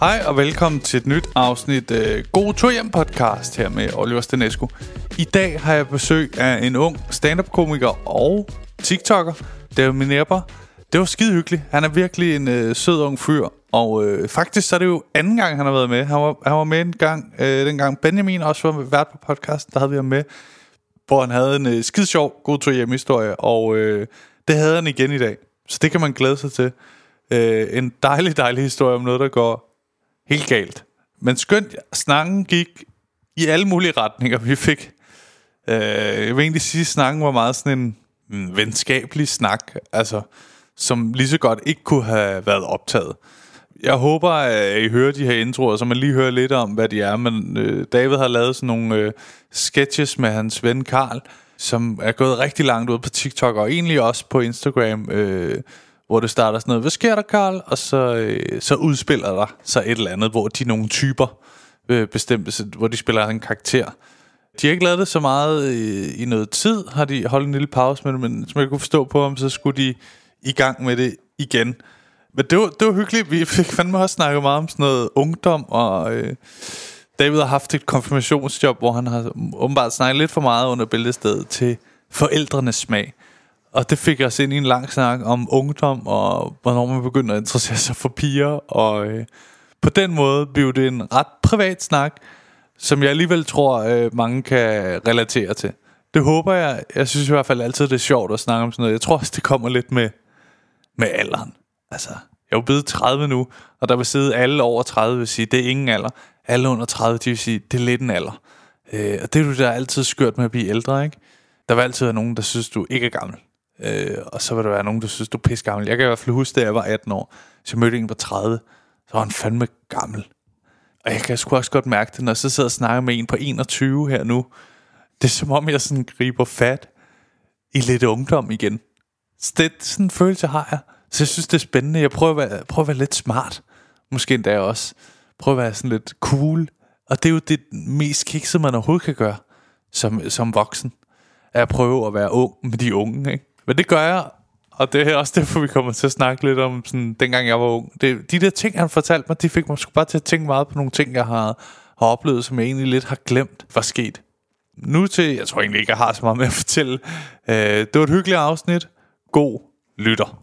Hej og velkommen til et nyt afsnit øh, Gode Tur Hjem podcast her med Oliver Stenesco. I dag har jeg besøg af en ung stand-up komiker og TikToker, David Minerber. Det var skide hyggeligt. Han er virkelig en øh, sød ung fyr, og øh, faktisk så er det jo anden gang, han har været med. Han var, han var med en gang, øh, dengang Benjamin også var vært på podcasten, der havde vi ham med, hvor han havde en øh, skide sjov god tur hjem historie, og øh, det havde han igen i dag. Så det kan man glæde sig til. Øh, en dejlig, dejlig historie om noget, der går helt galt. Men skønt, snakken gik i alle mulige retninger, vi fik. Øh, jeg vil egentlig sige, at snakken var meget sådan en mm, venskabelig snak, altså, som lige så godt ikke kunne have været optaget. Jeg håber, at I hører de her introer, så man lige hører lidt om, hvad de er. Men øh, David har lavet sådan nogle øh, sketches med hans ven Karl, som er gået rigtig langt ud på TikTok, og egentlig også på Instagram, øh, hvor det starter sådan noget, hvad sker der, Karl? Og så, øh, så udspiller der så et eller andet, hvor de er nogle typer øh, bestemte, så- hvor de spiller en karakter. De har ikke lavet det så meget øh, i noget tid, har de holdt en lille pause med det, men som jeg kunne forstå på ham, så skulle de i gang med det igen. Men det var, det var hyggeligt. Vi fik fandme også snakket meget om sådan noget ungdom, og øh, David har haft et konfirmationsjob, hvor han har åbenbart snakket lidt for meget under bæltestedet til forældrenes smag. Og det fik os ind i en lang snak om ungdom, og hvornår man begynder at interessere sig for piger, og øh, på den måde blev det en ret privat snak, som jeg alligevel tror, øh, mange kan relatere til. Det håber jeg. Jeg synes i hvert fald altid, det er sjovt at snakke om sådan noget. Jeg tror også, det kommer lidt med, med alderen. Altså, jeg er jo blevet 30 nu, og der vil sidde alle over 30 vil sige, det er ingen alder. Alle under 30, de vil sige, det er lidt en alder. Øh, og det er jo det, der er altid skørt med at blive ældre, ikke? Der vil altid være nogen, der synes, du ikke er gammel. Øh, og så vil der være nogen, der synes, du er pisse gammel. Jeg kan i hvert fald huske, da jeg var 18 år, så mødte jeg en på 30, så var han fandme gammel. Og jeg kan sgu også godt mærke det, når jeg så sidder og snakker med en på 21 her nu. Det er som om, jeg sådan griber fat i lidt ungdom igen. Så det, sådan en følelse har jeg. Så jeg synes, det er spændende. Jeg prøver at være, prøver at være lidt smart. Måske endda også. Prøver at være sådan lidt cool. Og det er jo det mest kiksede, man overhovedet kan gøre som, som voksen. At prøve at være ung med de unge. Ikke? Men det gør jeg. Og det er også derfor, vi kommer til at snakke lidt om, sådan, dengang jeg var ung. Det, de der ting, han fortalte mig, de fik mig sgu bare til at tænke meget på nogle ting, jeg har, har oplevet, som jeg egentlig lidt har glemt, var sket nu til, jeg tror egentlig ikke, jeg har så meget med at fortælle. Øh, det var et hyggeligt afsnit. God lytter.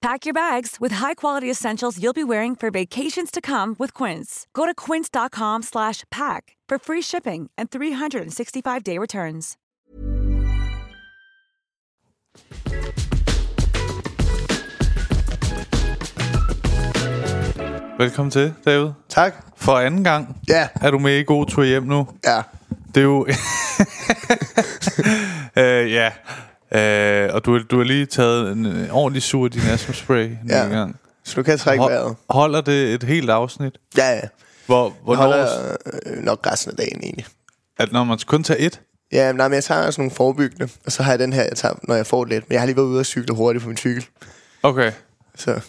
Pack your bags with high-quality essentials you'll be wearing for vacations to come with Quince. Go to quince.com slash pack for free shipping and 365-day returns. Velkommen til, David. Tak. For anden gang Ja. er du med i God tur hjem nu. Ja. Det er jo... øh, ja. Øh, og du, du har lige taget en øh, ordentlig sur din astmaspray en Ja. lille gang. Så du kan jeg trække vejret. Hol- holder det et helt afsnit? Ja, ja. Hvor, Jeg hvornår, holder holder... øh, nok resten af dagen egentlig. at når man kun tager et? Ja, men, nej, men jeg tager sådan nogle forebyggende, og så har jeg den her, jeg tager, når jeg får lidt. Men jeg har lige været ude og cykle hurtigt på min cykel, Okay. så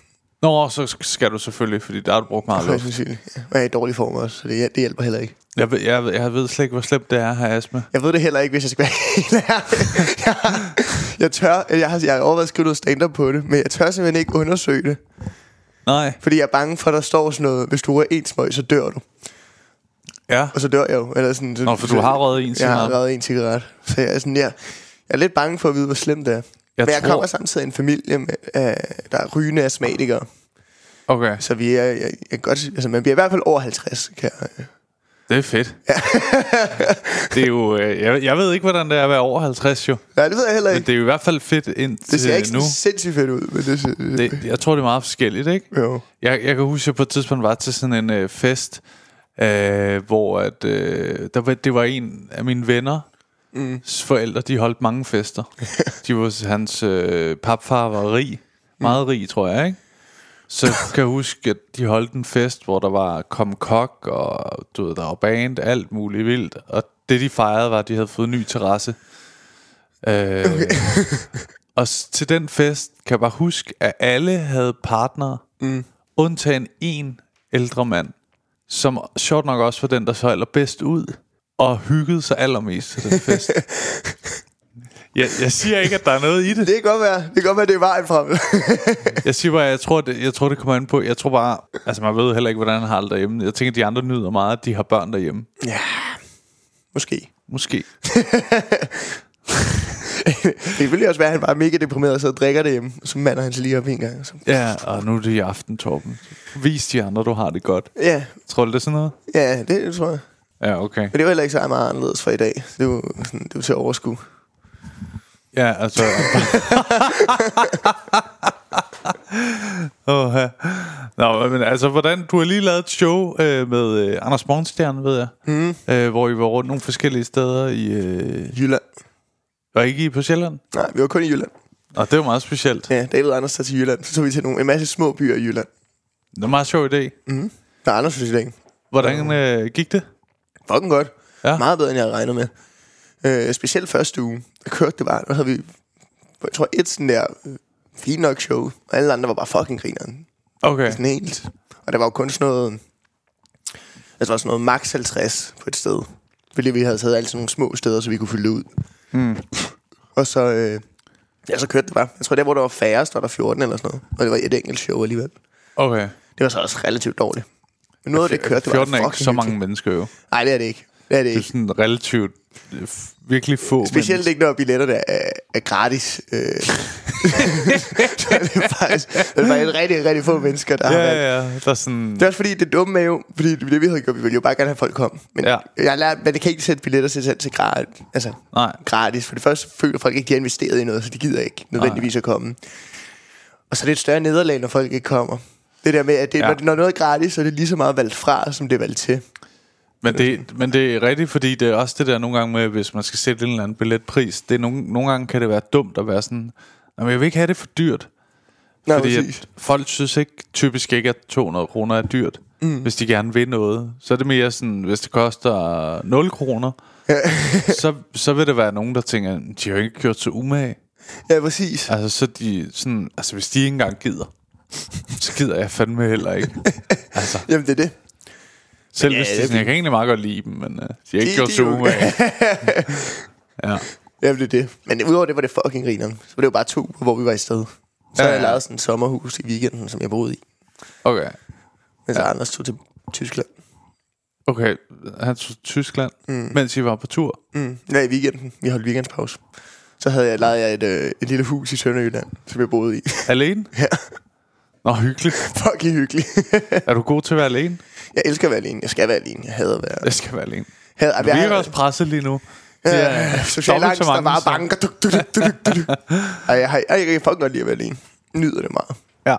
Nå, så skal du selvfølgelig, fordi der har du brugt meget luft. højst sandsynligt. Ja, og jeg er i dårlig form også, så det, det hjælper heller ikke. Jeg ved, jeg, ved- jeg ved slet ikke, hvor slemt det er at have astma. Jeg ved det heller ikke, hvis jeg skal være helt ærlig. Jeg, jeg tør, jeg har, jeg har overvejet at skrive noget stand-up på det, men jeg tør simpelthen ikke undersøge det. Nej. Fordi jeg er bange for, at der står sådan noget, hvis du rører en smøg, så dør du. Ja. Og så dør jeg jo. Eller sådan, så, Nå, for du har røget en Jeg har cigaret. røget en cigaret. Så jeg er, sådan, jeg, jeg er lidt bange for at vide, hvor slemt det er. Jeg Men jeg tror- kommer samtidig af en familie, med, øh, der er rygende astmatikere. Okay. Så vi er, jeg, jeg kan godt, altså, man bliver i hvert fald over 50, kan jeg, øh, Det er fedt. det er jo, øh, jeg, jeg ved ikke, hvordan det er at være over 50 jo. Nej, det ved jeg heller Men ikke. det er jo i hvert fald fedt indtil Det ser ikke nu. sådan sindssygt fedt ud, men det, ser- Det, jeg tror, det er meget forskelligt, ikke? Jo. Jeg, jeg kan huske, at jeg på et tidspunkt var til sådan en øh, fest, øh, hvor at, øh, der var, det var en af mine venner, mm. forældre, de holdt mange fester. de var, hans øh, papfar var rig. Meget rig, tror jeg, ikke? Så kan jeg huske, at de holdt en fest, hvor der var kom kok, og du ved, der var band, alt muligt vildt. Og det, de fejrede, var, at de havde fået en ny terrasse. Øh, okay. og s- til den fest kan jeg bare huske, at alle havde partnere, mm. undtagen en ældre mand, som sjovt nok også var den, der så allerbedst ud, og hyggede sig allermest til den fest. jeg, jeg siger ikke, at der er noget i det. det kan godt være, det kan godt være, det er vejen frem. Jeg siger bare, jeg tror, det, jeg tror, det kommer an på. Jeg tror bare, altså man ved heller ikke, hvordan han har det derhjemme. Jeg tænker, de andre nyder meget, at de har børn derhjemme. Måske. Måske. Det ville jo også være, at han var mega deprimeret og så drikker det hjemme, og så mander han sig lige op en gang. og Så. Ja, og nu er det i aften, Torben. Vis de andre, du har det godt. Ja, Tror du, det er sådan noget? ja, det tror jeg. Ja, okay. Men det var heller ikke så meget anderledes fra i dag. Det er jo, sådan, det er jo til at overskue. Ja, altså... Oha. Nå, men altså, hvordan... Du har lige lavet et show øh, med øh, Anders Morgenstjerne, ved jeg. Mm. Øh, hvor I var rundt nogle forskellige steder i... Øh, Jylland. var I ikke I på Sjælland? Nej, vi var kun i Jylland. Og det var meget specielt. Ja, David og Anders tager til Jylland. Så tog vi til nogle, en masse små byer i Jylland. Det var en meget sjov idé. Der er Anders synes jeg ikke. Hvordan øh, gik det? Fucking godt. Ja. Ja. Meget bedre, end jeg havde regnet med. Øh, specielt første uge, der kørte det bare. Der havde vi, jeg tror, et sådan der øh, fint nok show. Og alle andre var bare fucking grineren. Okay. Sådan helt. Og der var jo kun sådan noget... Altså, der var sådan noget max 50 på et sted. Fordi vi havde taget alle sådan nogle små steder, så vi kunne fylde det ud. Hmm. Og så... Øh, ja, så kørte det bare. Jeg tror, der hvor der var færrest, var der 14 eller sådan noget. Og det var et enkelt show alligevel. Okay. Det var så også relativt dårligt. Men noget af det kørte, det var 14 er ikke fucking så mange hyggeligt. mennesker jo. Nej, det er det ikke. Det er det Det er ikke. sådan relativt øh, f- virkelig få Specielt mennesker. ikke, når billetterne er, er gratis. Øh, så er det faktisk, det er faktisk rigtig, rigtig få mennesker, der har Ja, været. ja, ja. Der er sådan... Det er også fordi, det dumme er jo, fordi det, vi havde gjort, vi ville jo bare gerne have folk kom. Men Ja. ja. jeg har lært, man kan ikke sætte billetter til, til, til gratis. Altså, Nej. gratis. For det første føler folk ikke, de har investeret i noget, så de gider ikke nødvendigvis at komme. Og så er det et større nederlag, når folk ikke kommer. Det der med, at det, Ja. ja. når noget er gratis, så er det lige så meget valgt fra, som det er valgt til. Men det, men det er rigtigt, fordi det er også det der nogle gange med, hvis man skal sætte en eller anden billetpris, det er nogle, nogle gange kan det være dumt at være sådan, "Nå, men jeg vil ikke have det for dyrt. Nå, fordi præcis. at folk synes ikke, typisk ikke, at 200 kroner er dyrt, mm. hvis de gerne vil noget. Så er det mere sådan, hvis det koster 0 kroner, så, så vil det være nogen, der tænker, de har jo ikke gjort så umage. Ja, præcis. Altså, så de sådan, altså, hvis de ikke engang gider, så gider jeg fandme heller ikke. Altså, Jamen, det er det. selv ja, hvis det de er sådan, jeg kan egentlig meget godt lide dem, men uh, de har ikke De- gjort de så er jo- umage. ja. Jamen, det er det. Men udover det var det fucking grineren. Så var det jo bare to uger, hvor vi var i sted. Ja, Så ja, ja. jeg ja. lejet sådan et sommerhus i weekenden, som jeg boede i. Okay. Men så ja. Anders tog til Tyskland. Okay, han tog til Tyskland, mm. mens I var på tur. Mm. Ja, i weekenden. Vi holdt weekendspause. Så havde jeg lejet jeg et, øh, et lille hus i Sønderjylland, som jeg boede i. Alene? Ja. Nå, hyggeligt. fucking hyggeligt. Er du god til at være alene? jeg elsker at være alene. Jeg skal være alene. Jeg hader at være... Jeg skal være alene. Hader, Du virker også presset lige nu. Det er Social dobbelt så angst, der mange, bare så- banker. Duk, duk, duk, duk, duk, duk. Ej, jeg, har- jeg, jeg kan fucking godt lide at være alene. Nyder det meget. Ja.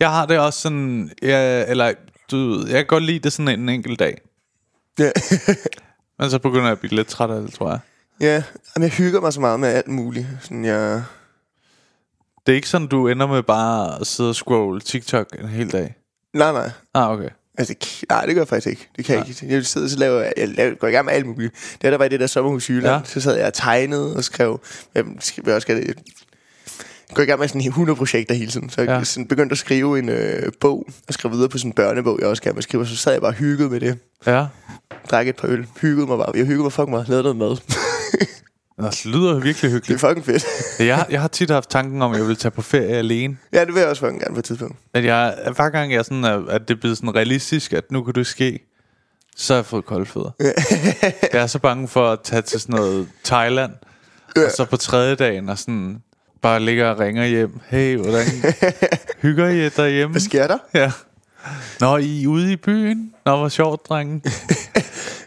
Jeg har det også sådan... Jeg, eller, du, ved, jeg kan godt lide det sådan en enkelt dag. Ja. Men så begynder jeg at blive lidt træt af det, tror jeg. ja. Jamen, jeg hygger mig så meget med alt muligt. Sådan, jeg... Det er ikke sådan, du ender med bare at sidde og scrolle TikTok en hel dag. Nej, nej. Ah, okay. Altså, det, kan- nej, det gør jeg faktisk ikke. Det kan jeg ikke. Jeg sidder og så laver, jeg laver, går i gang med alt muligt. Da der var i det der sommerhus i Jylland, Ja. ja. så sad jeg og tegnede og skrev, jeg skal jeg også skal jeg går i gang med sådan 100 projekter hele tiden. Så jeg Ja. ja. sådan begyndte at skrive en øh, bog, og skrev videre på sådan en børnebog, jeg også gerne vil skrive. og Så sad jeg bare og hyggede med det. Ja. Drak et par øl. Hyggede mig bare. Jeg hyggede mig fucking meget. Lavede noget mad. Nå, det lyder virkelig det er hyggeligt. fucking fedt. Jeg, jeg har tit haft tanken om, at jeg vil tage på ferie alene. ja, det vil jeg også fucking gerne på et tidspunkt. At jeg, hver gang jeg sådan er, at det er blevet sådan realistisk, at nu kan det ske, så har jeg fået kolde fødder. jeg er så bange for at tage til sådan noget Thailand, og så på tredje dagen og sådan bare ligger og ringer hjem. Hey, hvordan hygger I jer derhjemme? Hvad sker der? Ja. Nå, I er ude i byen? Nå, hvor sjovt, drengen.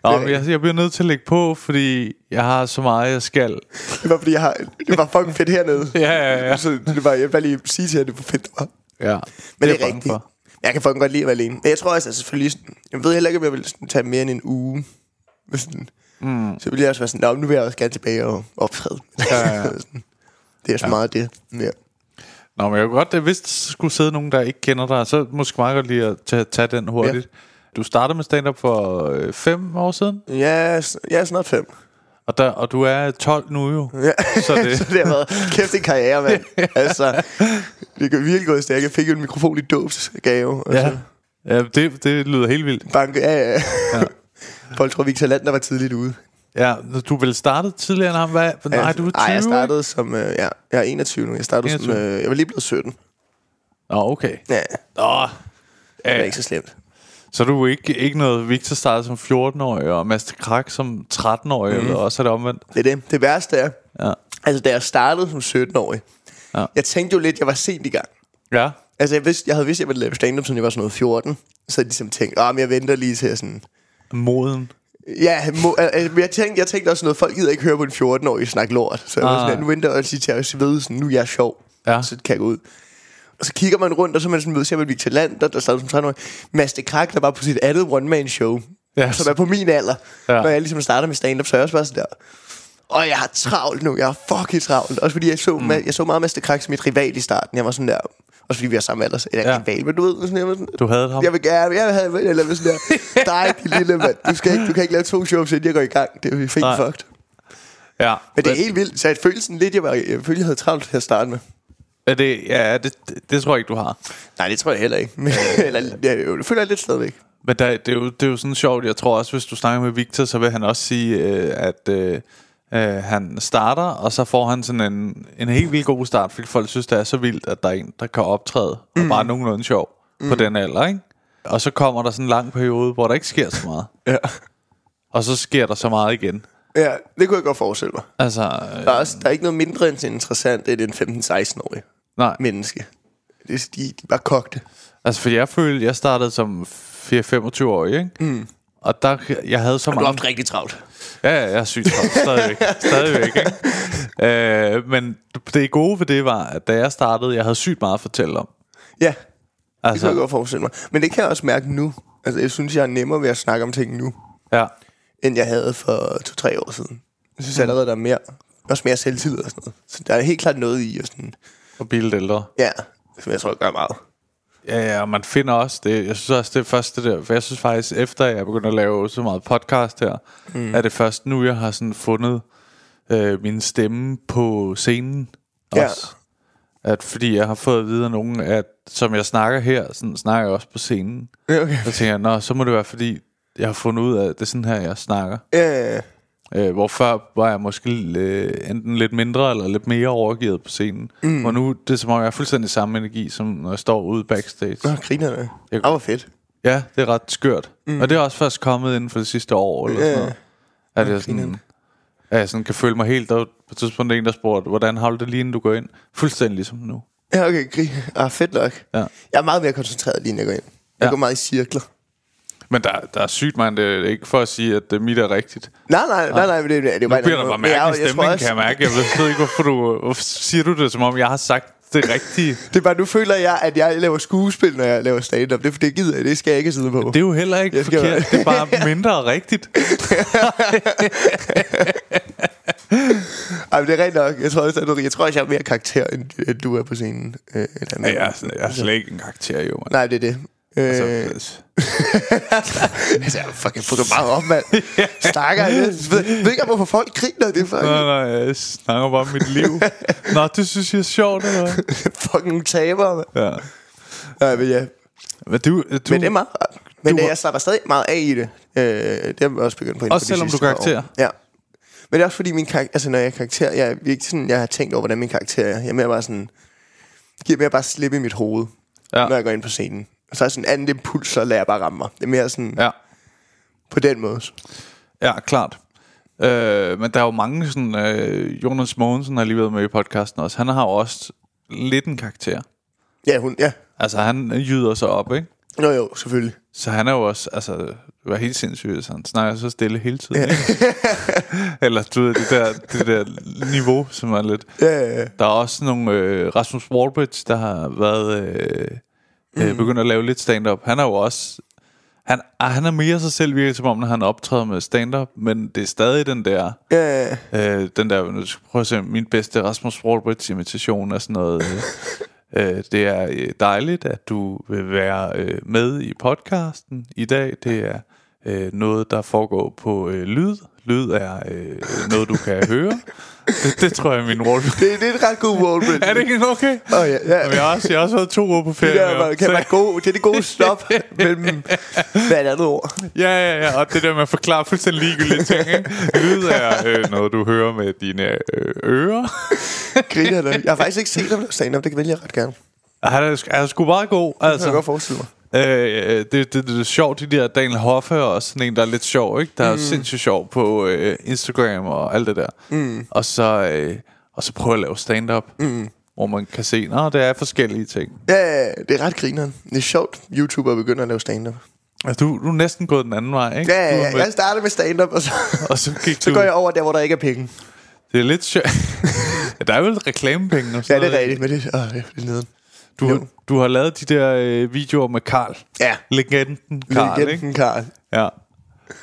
Nå, men jeg, jeg bliver nødt til at lægge på, fordi jeg har så meget, jeg skal. Det var fordi, jeg har, det var fucking fedt hernede. Ja, ja, ja. Så det var, jeg vil bare lige sige til jer, det var fedt, det var. Ja, Men det er, jeg bange rigtigt. for. Jeg kan fucking godt lide at være alene. Men jeg tror også, at selvfølgelig... sådan- Jeg ved heller ikke, om jeg ville sådan, tage mere end en uge. Hvis Sådan, mm. Så ville jeg også være sådan, Nå, men nu vil jeg også gerne tilbage og optræde. Ja, ja. Sådan. det er så ja. meget det. Ja. Nå, men jeg kunne godt, at hvis der skulle sidde nogen, der ikke kender dig, så måske meget godt lige at tage, tage den hurtigt. Ja. Du startede med stand-up for øh, fem år siden, Ja, s- jeg er snart fem. og, der, og du er 12 nu jo. Ja. Så det- så det har været kæft en karriere, mand. altså, det kan virkelig gå stærkt. Jeg fik jo en mikrofon i dåbsgave. Og Ja, så ja det, det lyder helt vildt. banke. Ja, ja. ja. Folk tror, Victor Lander var tidligt ude. Altså, Ja, du er vel startet tidligere end ham? Hvad? Nej, du er 20, Ej, jeg ikke? startede som... Øh, ja, jeg er 21 nu. Jeg startede 21. 21. som... Øh, jeg var lige blevet 17. Nå, okay. Ja, Nå, det er ja. ikke så slemt. Så er du ikke, ikke noget Victor startede som 14-årig, og Master Krak som Mhm. 13-årig, mm. og også er det omvendt. Det er det. Det værste er, Ja. altså da jeg startede som 17-årig, Ja. ja. jeg tænkte jo lidt, jeg var sent i gang. Ja, Altså jeg, vidste, jeg havde vidst, jeg ville lave stand-up, siden jeg var sådan noget 14. Så jeg ligesom tænkte, ah, men jeg venter lige til jeg sådan... moden. Ja, må, altså, men jeg, tænkte, jeg tænkte også noget, folk gider ikke høre på en 14-årig snakke lort. Så jeg Ah. var sådan, ja, nu venter jeg også lige til at ved, sådan, nu er jeg sjov. Ja. Så kan jeg gå ud. Og så kigger man rundt, og så er man sådan, ved, ser man Victor Lander, der startede som 13-årig. Mads de Krak, der var på sit andet one-man-show. Ja, som er på min alder. Ja. Ja. Når jeg ligesom starter med stand-up, så er jeg også bare sådan der. Og jeg har travlt nu, jeg har fucking travlt. Også fordi jeg så, mm. jeg så meget Mads de Krak som mit rival i starten. Jeg var sådan der, også fordi vi er samme alder, så eller Ja. ja. rival, men du ved, sådan, jeg var sådan, Du havde ham. Jeg vil gerne, jeg vil have, jeg lavede sådan der, dig, din lille mand, du, skal ikke, du kan ikke lave to shows, inden jeg går i gang. Det er jo fint Nej. fucked. Ja. Men det er helt vildt, så jeg følte sådan lidt, jeg, var, jeg følte, jeg havde travlt til at starte med. Er det, ja, det, det, det tror jeg ikke, du har. Nej, det tror jeg heller ikke. Men, eller, jeg, jeg føler jeg lidt stadigvæk. Men der, det, er jo, det er jo sådan sjovt. Jeg tror også, hvis du snakker med Victor, så vil han også sige, øh, at øh, øh, han starter, og så får han sådan en, en helt vildt god start, fordi folk synes, det er så vildt, at der er en, der kan optræde, mm. og bare nogenlunde sjov mm. på den alder, ikke? Og så kommer der sådan en lang periode, hvor der ikke sker så meget. Ja. Og så sker der så meget igen. ja, det kunne jeg godt forestille mig. Altså, Der øh, er, også, der er ikke noget mindre end interessant end en 15-16-årig nej. menneske. Det, de, de bare kogte. Altså, fordi jeg følte, jeg startede som 4-25-årig, ikke? Mm. Og der, jeg havde så mange... rigtig travlt. Ja, ja, jeg er sygt travlt. Stadigvæk. Stadigvæk, ikke? Øh, men det gode ved det var, at da jeg startede, jeg havde sygt meget at fortælle om. Ja, det Altså, kan jeg godt forestille mig. Men det kan jeg også mærke nu. Altså, jeg synes, jeg er nemmere ved at snakke om ting nu, ja. end jeg havde for to-tre år siden. Jeg Mm. synes allerede, der er mere, også mere selvtid og sådan noget. Så der er helt klart noget i, og sådan, Og blive lidt ældre. ja, som jeg tror, jeg gør meget. Ja, ja, og man finder også det. Jeg synes også, det er først det der. For jeg synes faktisk, efter jeg begyndte at lave så meget podcast her, mm. er det først nu, jeg har sådan fundet øh, min stemme på scenen Ja. også. At fordi jeg har fået at vide af nogen, at som jeg snakker her, sådan snakker jeg også på scenen. Ja, okay. Så tænker jeg, nå, så må det være, fordi jeg har fundet ud af, at det er sådan her, jeg snakker. Ja, Øh, hvor før var jeg måske øh, enten lidt mindre eller lidt mere overgivet på scenen. Mm. Og nu det er som om, jeg har fuldstændig samme energi, som når jeg står ude backstage. Nå, grinerne. Det var fedt. Ja, det er ret skørt. Mm. Og det er også først kommet inden for det sidste år, eller Ja. sådan noget. At jeg sådan, at jeg sådan kan føle mig helt... Der var på et tidspunkt en, der spurgte, hvordan har du det lige, inden du går ind? Fuldstændig ligesom nu. Ja, okay, grin. Ah, fedt nok. Ja. Jeg er meget mere koncentreret lige, når jeg går ind. Jeg Ja. går meget i cirkler. Men der, der er sygt, man. Det er ikke for at sige, at øh, mit er rigtigt. Nej, nej, nej, nej, men det, det, det er Nu bare en bliver der anden bare måde. Men jeg- mærkelig jeg tror stemning, også- kan jeg mærke. Jeg ved ikke, hvorfor du... Hvorfor siger du det, som om jeg har sagt det rigtige? Det er bare, nu føler jeg, at jeg laver skuespil, når jeg laver stand-up. Det, det gider jeg, det skal jeg ikke sidde på. Det er jo heller ikke Jeg skal- forkert. Det er bare mindre rigtigt. Ej, men det er rent nok. Jeg tror også, at du, jeg, tror, også, jeg er mere karakter, end, end du er på scenen. Øh, end andet. Jeg er, jeg er slet ikke en karakter, jo. Man. Nej, det er det. Øh, altså, Altså, altså, jeg fucking fucker meget op, mand. Stakker jeg ved, ved ikke, hvorfor folk griner. Det er nej, fucking, nej, jeg snakker bare om mit liv. Nå, det synes jeg er sjovt, eller hvad? fucking taber, mand. Ja. Nej, men ja. Men, du, øh, du, Men det er meget rart. Men Du- du... jeg slapper stadig meget af i det. Øh, det har jeg også begyndt på inden Også for de selvom sidste du karakterer? par år. Ja. Men det er også fordi, min karakter, altså, når jeg er karakter, jeg er virkelig sådan, jeg har tænkt over, hvordan min karakter er. Jeg er mere bare sådan, giver mere bare slip i mit hoved, Ja. ja. når jeg går ind på scenen. Og så er sådan en anden impuls, så lader jeg bare ramme mig. Det er mere sådan, ja. ja, på den måde. ja, klart. Øh, men der er jo mange sådan... Øh, Jonas Mogensen har lige været med i podcasten også. Han har jo også lidt en karakter. Ja, hun, ja. Altså, han jyder sig op, ikke? Nå jo, selvfølgelig. Så han er jo også, altså, det var helt sindssygt, så han snakker så stille hele tiden. ikke? Eller du ved, det der, det der niveau, som er lidt... Ja, ja, Der er også nogle, øh, Rasmus Warbridge, der har været, øh, øh, Mm. begyndt at lave lidt stand-up. Han er jo også, han, ah, han er mere sig selv virkelig, som om, når han optræder med stand-up, men det er stadig den der, ja, ja. øh, den der, nu skal jeg prøve at se, min bedste Rasmus Warbridge imitation er sådan noget, øh, øh, det er øh, dejligt, at du vil være øh, med i podcasten i dag. Det er øh, noget, der foregår på øh, lyd. Lyd er øh, noget, du kan høre. Det, det tror jeg er min Warbridge. Det, det er et ret god wallprint. Er det ikke okay? Åh, ja, ja. Jamen, Jeg har også, jeg har også været to uger på Det ferie. der jo. var, kan Så- være god, det er det gode stop mellem hvad er det andet ord. Ja, ja, ja. Og det der med at forklare fuldstændig ligegyldige ting. Ikke? Lyd er øh, noget, du hører med dine øh, ører. Griner du? Jeg har faktisk ikke set ham lave stand-up, det vil jeg ret gerne. Det Ej, Han er, sgu- han er sgu meget god. kan jeg Altså, godt forestille mig. øh, det, det, det, det er sjovt, de der Daniel Hoffe er også sådan en, der er lidt sjov. Ikke? Der er mm. sindssygt sjov på øh, Instagram og alt det der. Mm. Og, så, øh, og så prøver at lave stand-up. Mm. Hvor man kan se, at det er forskellige ting. Ja, ja, det er ret grineren. Det er sjovt, YouTuber begynder at lave stand-up. Altså, du, du er næsten gået den anden vej, ikke? Ja, Du ja, er ja, med- jeg starter med stand-up, og så, Og så gik så du- går jeg over der, hvor der ikke er penge. Det er lidt sjovt. Ja, der er vel reklamepenge og Ja, sådan det er noget. rigtigt, men det, åh, det er neden. Du, har- du har lavet de der øh, videoer med Karl. Ja. Legenden Karl, ikke? Legenden Karl. Ja.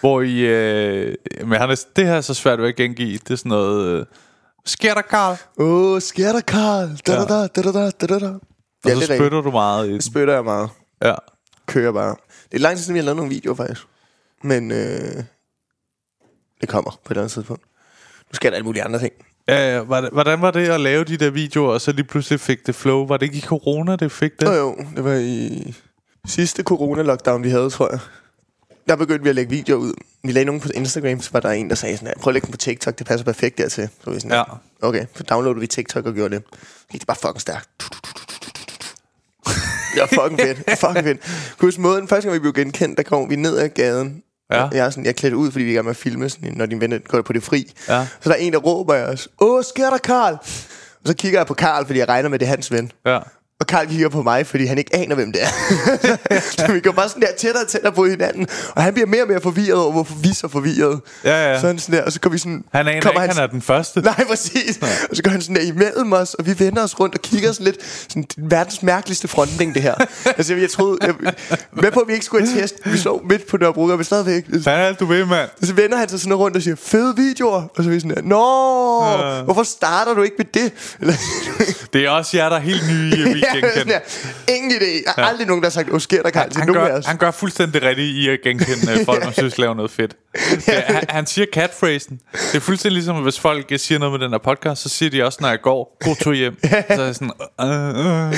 Hvor I... Øh, men han er, det her er så svært ved at gengive. Det er sådan noget... Øh, Sker der, Karl? Åh, sker der Karl? Da, da, da, da, da, da, da, da. Og så Ja, det er rigtigt. spytter du meget i den. Spytter jeg meget. Ja. Kører bare. Det er lang tid siden, vi har lavet nogle videoer, faktisk. Men øh, det kommer på et eller andet tidspunkt. Nu skal der alle mulige andre ting. Ja, ja, hvordan- hvordan var det at lave de der videoer, og så lige pludselig fik det flow? Var det ikke i corona, det fik det? Nå jo, det var i sidste corona-lockdown, vi havde, tror jeg. Der begyndte vi at lægge videoer ud. Vi lagde nogen på Instagram, så var der en, der sagde sådan her, prøv at lægge dem på TikTok, det passer perfekt dertil. Så var vi sådan, Ja. ja. okay, så downloadede vi TikTok og gjorde det. Så gik det bare fucking stærkt. Det var fucking fedt, Det var fucking fedt. Kan du Husk måden, første gang vi blev genkendt, der kom vi ned ad gaden. Ja. Jeg er sådan, jeg er klædt ud, fordi vi er i gang med at filme, sådan, når din venner går på det fri. Ja. Så der er en, der råber af os, åh, sker der Karl? Og så kigger jeg på Karl, fordi jeg regner med, det er hans ven. Ja. Og Karl kigger på mig, fordi han ikke aner, hvem det er. så vi går bare sådan der tættere og tættere på hinanden. Og han bliver mere og mere forvirret over, hvorfor vi er så forvirret. Ja, ja. Så han sådan der, og så går vi sådan... Han aner ikke, kommer han er den første. Nej, præcis. Og så går han sådan der imellem os, og vi vender os rundt og kigger sådan lidt. Sådan, det er verdens mærkeligste frontning, det her. altså, jeg troede... Jeg, med på, at vi ikke skulle have test. Vi så midt på Nørrebro, og vi stadigvæk... Hvad er det, du ved, mand? Og så vender han sig sådan rundt og siger, fede videoer. Og så er vi sådan der, nå, Ja. hvorfor starter du ikke med det? Eller, Det er også jer, der er helt nye i at vi Ja, sådan genkendt. der. Ingen idé. Der er ja. aldrig nogen, der har sagt, åh, sker der Karl til han, nogen af gør, os. han gør fuldstændig rigtigt i at genkende øh, folk, man synes laver noget fedt. Det, er- han, han siger catphrasen. Det er fuldstændig ligesom, hvis folk øh, siger noget med den her podcast, så siger de også, når jeg går, god tur hjem. Så er jeg sådan, øh, øh,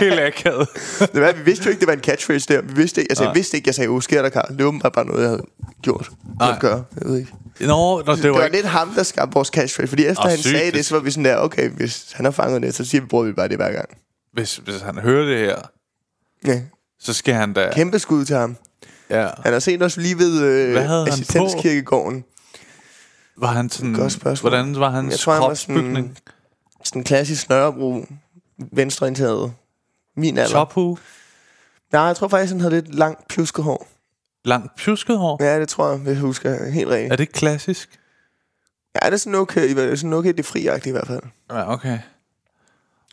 helt akavet. Det var, vi vidste jo ikke, det var en catchphrase der. Vi vidste ikke, altså, jeg vidste ikke, jeg sagde, åh, sker der Karl. Det var bare, bare noget, jeg havde gjort. Nej. Nej. At gøre. Jeg ved ikke. Nå, nå det Det var var ikke... lidt ham, der skabte vores catchphrase. Fordi efter Åh, han sygt, sagde det- det, så var vi sådan der, okay, hvis han har fanget det, så siger vi, bruger vi bare det hver gang. Hvis, hvis han hører det her, Ja. så skal han da... Kæmpe skud til ham. Ja. Han har set os lige ved øh, Hvad havde han på? assistenskirkegården. Var han sådan... Godt spørgsmål. Hvordan var hans Jeg tror, han var kropsbygning? sådan, sådan klassisk Nørrebro, venstreorienteret. Min alder. Tophue? Nej, jeg tror faktisk, han havde lidt langt pjusket hår. Langt pjusket hår? Ja, det tror jeg, hvis jeg husker helt rigtigt. Er det klassisk? Ja, det er sådan okay, det er sådan okay, det er friagtigt i hvert fald. Ja, okay.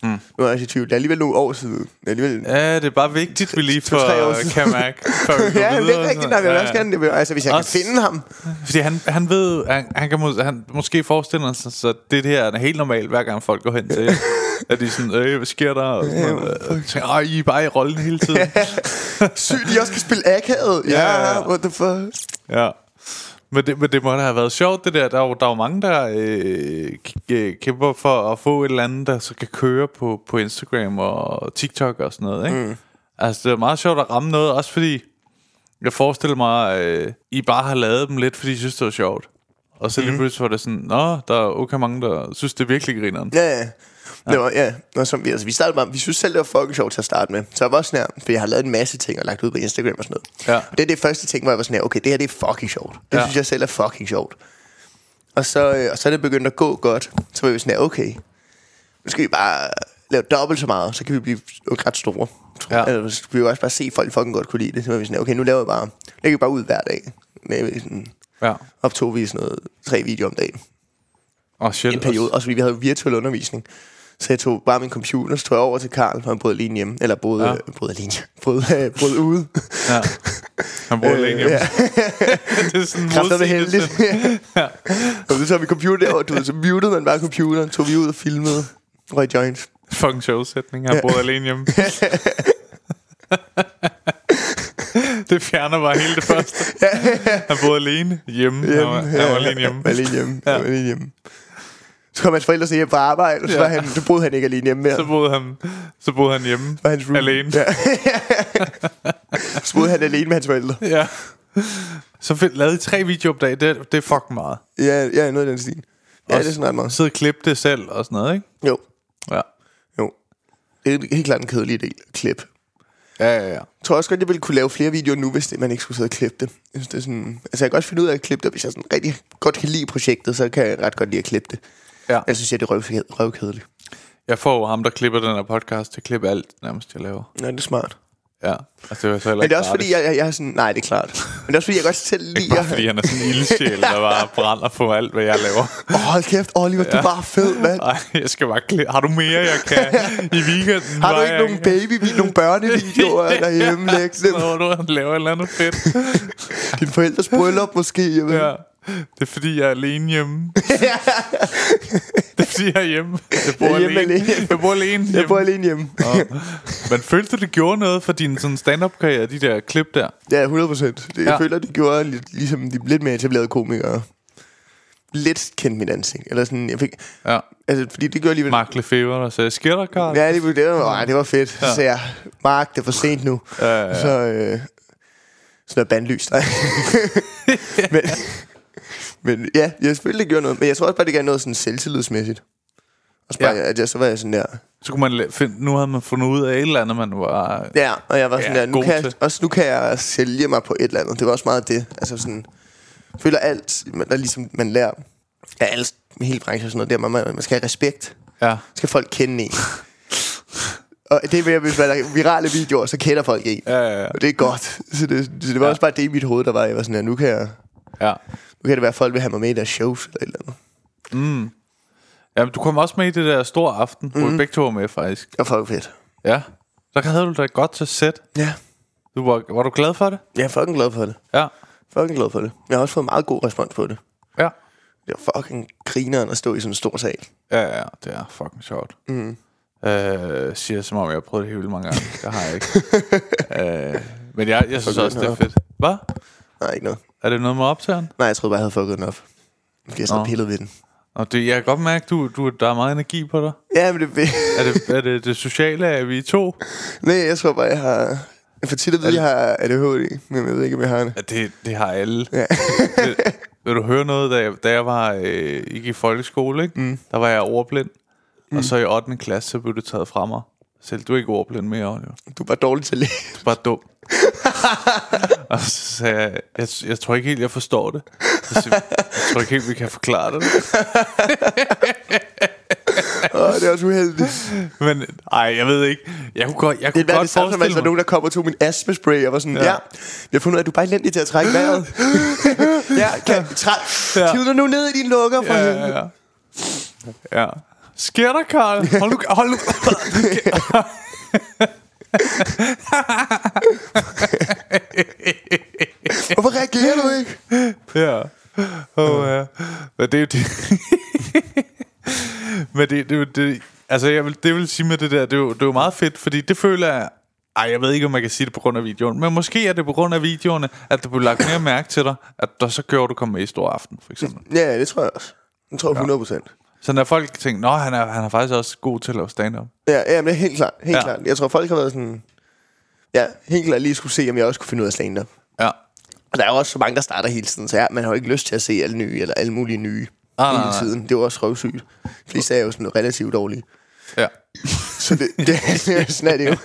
Nu er jeg også i tvivl. Det er alligevel nogle år siden. Det er alligevel... Ja, det er bare vigtigt, vi lige To- tre år får siden. kan mærke, før vi går Ja, men det videre er og rigtigt. sådan- Nej, jeg vil Ja, også ja. gerne... Jeg vil, altså, hvis jeg Også- kan finde ham... Fordi han, han ved, han, han, kan, mås- han måske forestiller sig, så det her er helt normalt, hver gang folk går hen til jer. At de er sådan, øh, hvad sker der? Og sådan noget. Og tænker, "Ej, I er bare i rollen hele tiden. Sygt, de også kan spille akavet. Ja, Ja, ja, ja. what the fuck. ja. Men det, men det må da have været sjovt, det der. Der er jo, der er jo mange, der øh, k- øh, kæmper for at få et eller andet, der så kan køre på, på Instagram og TikTok og sådan noget. Ikke? Mm. Altså, det er meget sjovt at ramme noget, også fordi jeg forestiller mig, øh, I bare har lavet dem lidt, fordi I synes, det var sjovt. Og så lige pludselig var det sådan, nå, der er okay mange, der synes, det er virkelig grineren. Ja, ja. Det var, ja. Og som vi, altså, vi startede bare, vi synes selv, det var fucking sjovt til at starte med. Så jeg var sådan her, for jeg har lavet en masse ting og lagt ud på Instagram og sådan noget. Ja. Og det er det første ting, hvor jeg var sådan her, okay, det her det er fucking sjovt. Ja. Det ja. synes jeg selv er fucking sjovt. Og så, øh, og så er det begyndt at gå godt. Så var vi sådan her, okay, nu skal vi bare lave dobbelt så meget, så kan vi blive ret store. tror Ja. ja. altså, vi kunne jo også bare se, at folk fucking godt kunne lide det. Så var vi sådan, okay, nu laver vi bare, lægger vi bare ud hver dag. Med øh, sådan, Ja. optog vi sådan noget, tre videoer om dagen. Og shit. en periode. Også fordi vi havde jo virtuel undervisning. Så jeg tog bare min computer, så tog jeg over til Karl, og han boede alene hjemme. Eller boede, Ja. ja. øh, boede alene hjemme. boede, øh, boede ude. Ja. Han bruger øh, længe hjemme. ja. det er sådan Kræfter det modsigende heldigt. til- ja. Og så tog vi computer derover, du ved, så mutede man bare computeren, tog vi ud og filmede. Røg joints. Fucking showsætning. Han boede alene hjemme. det fjerner bare hele det første. Han boede alene hjemme. Han var, han var alene hjemme. Var alene hjemme. Ja. Var alene hjemme. Så kom hans forældre så hjem på arbejde, og så, Ja. ja. var han, så boede han ikke alene hjemme mere. Så boede han, så boede han hjemme var hans room. alene. Ja. så boede han alene med hans forældre. Ja. Så fik, lavede I tre videoer om dagen. Det, det er fucking meget. Ja, ja noget i den stil. Ja, det er sådan ret meget. Sidde og klippe det selv og sådan noget, ikke? Jo, Ja. jo. Det er helt klart en kedelig del at klippe. Ja, ja, ja. Jeg tror også godt, jeg ville kunne lave flere videoer nu, hvis det, man ikke skulle sidde og klippe det. Jeg synes, det er sådan, altså, jeg kan godt finde ud af at klippe det, og hvis jeg sådan rigtig godt kan lide projektet, så kan jeg ret godt lide at klippe det. Ja. Jeg synes, jeg, det er røv, røvkedeligt. Jeg får jo ham, der klipper den her podcast, til at klippe alt, nærmest, jeg laver. Nej, det er smart. Ja. Altså, det var så heller Men det ikke er også fordi, gratis. jeg, jeg, jeg er sådan, nej, det er klart. Men det er også fordi, jeg godt selv Ikke lider. bare fordi han er sådan en ildsjæl, der bare brænder på alt, hvad jeg laver. Åh, oh, hold kæft, Oliver, ja. du er bare fed, mand. Nej, jeg skal bare klippe. Har du mere, jeg kan i weekenden? Har du var ikke jeg nogen baby, nogle børnevideoer derhjemme? Læg Sådan dem. noget, hvor du laver et eller andet fedt. Din forældres bryllup måske. Jeg ved. Ja. Det er fordi, jeg er alene hjemme. det er fordi, jeg er hjemme. Jeg bor Jeg er hjemme alene. alene. Jeg bor alene hjemme. Jeg bor alene hjemme. Men følte du, det gjorde noget for din sådan stand-up-karriere, de der klip der? Ja, 100 procent. Jeg Ja. føler, det gjorde lidt, ligesom de lidt mere etablerede komikere. Lidt kendte mit ansigt. Eller sådan, jeg fik... Ja. Altså, fordi det gjorde alligevel... Mark Lefebvre, der sagde, sker der, Carl? Ja, det, det, var, ej, det var fedt. Så sagde jeg, Mark, det er for sent nu. Ja, ja, ja. Så, øh, sådan noget bandlyst. Ej. men, men ja, jeg selvfølgelig det gjorde noget. Men jeg tror også bare, det gav noget sådan selvtillidsmæssigt. Og så, bare, Ja. ja. at jeg, så var jeg sådan der... Så kunne man la- finde, nu havde man fundet ud af et eller andet, man var... Ja, og jeg var sådan Ja, ja, der, nu god kan jeg, til. også nu kan jeg sælge mig på et eller andet. Det var også meget det. Altså sådan, jeg føler alt, man, der ligesom man lærer af alle, hele branchen og sådan noget der, man, man, man skal have respekt. Ja. Skal folk kende en. og det er mere, hvis man er virale videoer, så kender folk en. Ja, ja, ja. Og det er godt. Så det, så det var Ja. ja. også bare det i mit hoved, der var, jeg var sådan her, nu kan jeg... ja. Nu kan det være, at folk vil have mig med i deres shows eller et eller andet. Jamen, du kom også med i det der store aften, hvor Mm. vi begge to var med, faktisk. Det var fucking fedt. Ja. Så havde du da godt til sæt. Ja. Du var, var du glad for det? Jeg er fucking glad for det. Ja. Fucking glad for det. Jeg har også fået meget god respons på det. Ja. Det var fucking grineren at stå i sådan en stor sal. Ja, ja, det er fucking sjovt. Mm. Øh, siger jeg, som om, jeg har prøvet det helt vildt mange gange. Det har jeg ikke. øh, men jeg, jeg synes Fuck, også, det er den fedt. Hvad? Nej, ikke noget. Er det noget med optageren? Nej, jeg troede bare, jeg havde fucket den op. Fordi jeg sad og pillede ved den. Og det, jeg kan godt mærke, du, du, der er meget energi på dig. Ja, men det... Er det, er det det sociale, at vi er to? Nej, jeg tror bare, jeg har... Jeg får tit at vide, at jeg har ADHD, men jeg ved ikke, om jeg har det. Ja, det, det har alle. Ja. det, vil du høre noget, da jeg, da jeg var øh, ikke i folkeskole, ikke? Mm. der var jeg ordblind. Mm. Og så i 8. klasse, så blev det taget fra mig. Selv du er ikke ordblind mere, Oliver. Du er bare dårlig til at læse. bare dum. og så sagde jeg, jeg, jeg tror ikke helt, jeg forstår det. Så siger, jeg "Jeg tror ikke helt, vi kan forklare det. Åh, det er også uheldigt. Men ej, jeg ved ikke. Jeg kunne godt, jeg kunne Det er bare godt det samme, som altså forestille mig. nogen, der kommer og tog min astmaspray og var sådan, ja, ja jeg har fundet ud af, at du er bare elendig til at trække vejret. ja, kan træ... Ja. Ja. Tid nu ned i dine lukker for Ja, ja, ja, ja. ja. Sker der, Karl? Hold nu, hold nu. Hvorfor reagerer du ikke? Ja. Oh, ja. Men det er jo det. Men det, det, er jo det, altså jeg vil, det vil sige med det der, det er, jo, det er jo meget fedt, fordi det føler jeg, ej, jeg ved ikke, om man kan sige det på grund af videoen, men måske er det på grund af videoerne, at der blev lagt mere mærke til dig, at der så gjorde du komme med i stor aften, for eksempel. Ja, det tror jeg også. Det tror jeg 100 procent. Så når folk tænker, nå, han er, han er faktisk også god til at lave stand-up. Ja, ja, men det er helt klart. Helt Ja. ja. klart. Jeg tror, folk har været sådan... Ja, helt klart lige skulle se, om jeg også kunne finde ud af stand-up. Ja. Og der er jo også så mange, der starter hele tiden, så ja, man har jo ikke lyst til at se alle nye, eller alle mulige nye Ah, ah, nej, hele nej. tiden. Det er jo også røvsygt. De fleste er jo sådan relativt dårlige. Ja. Så det, det er, sådan er det jo.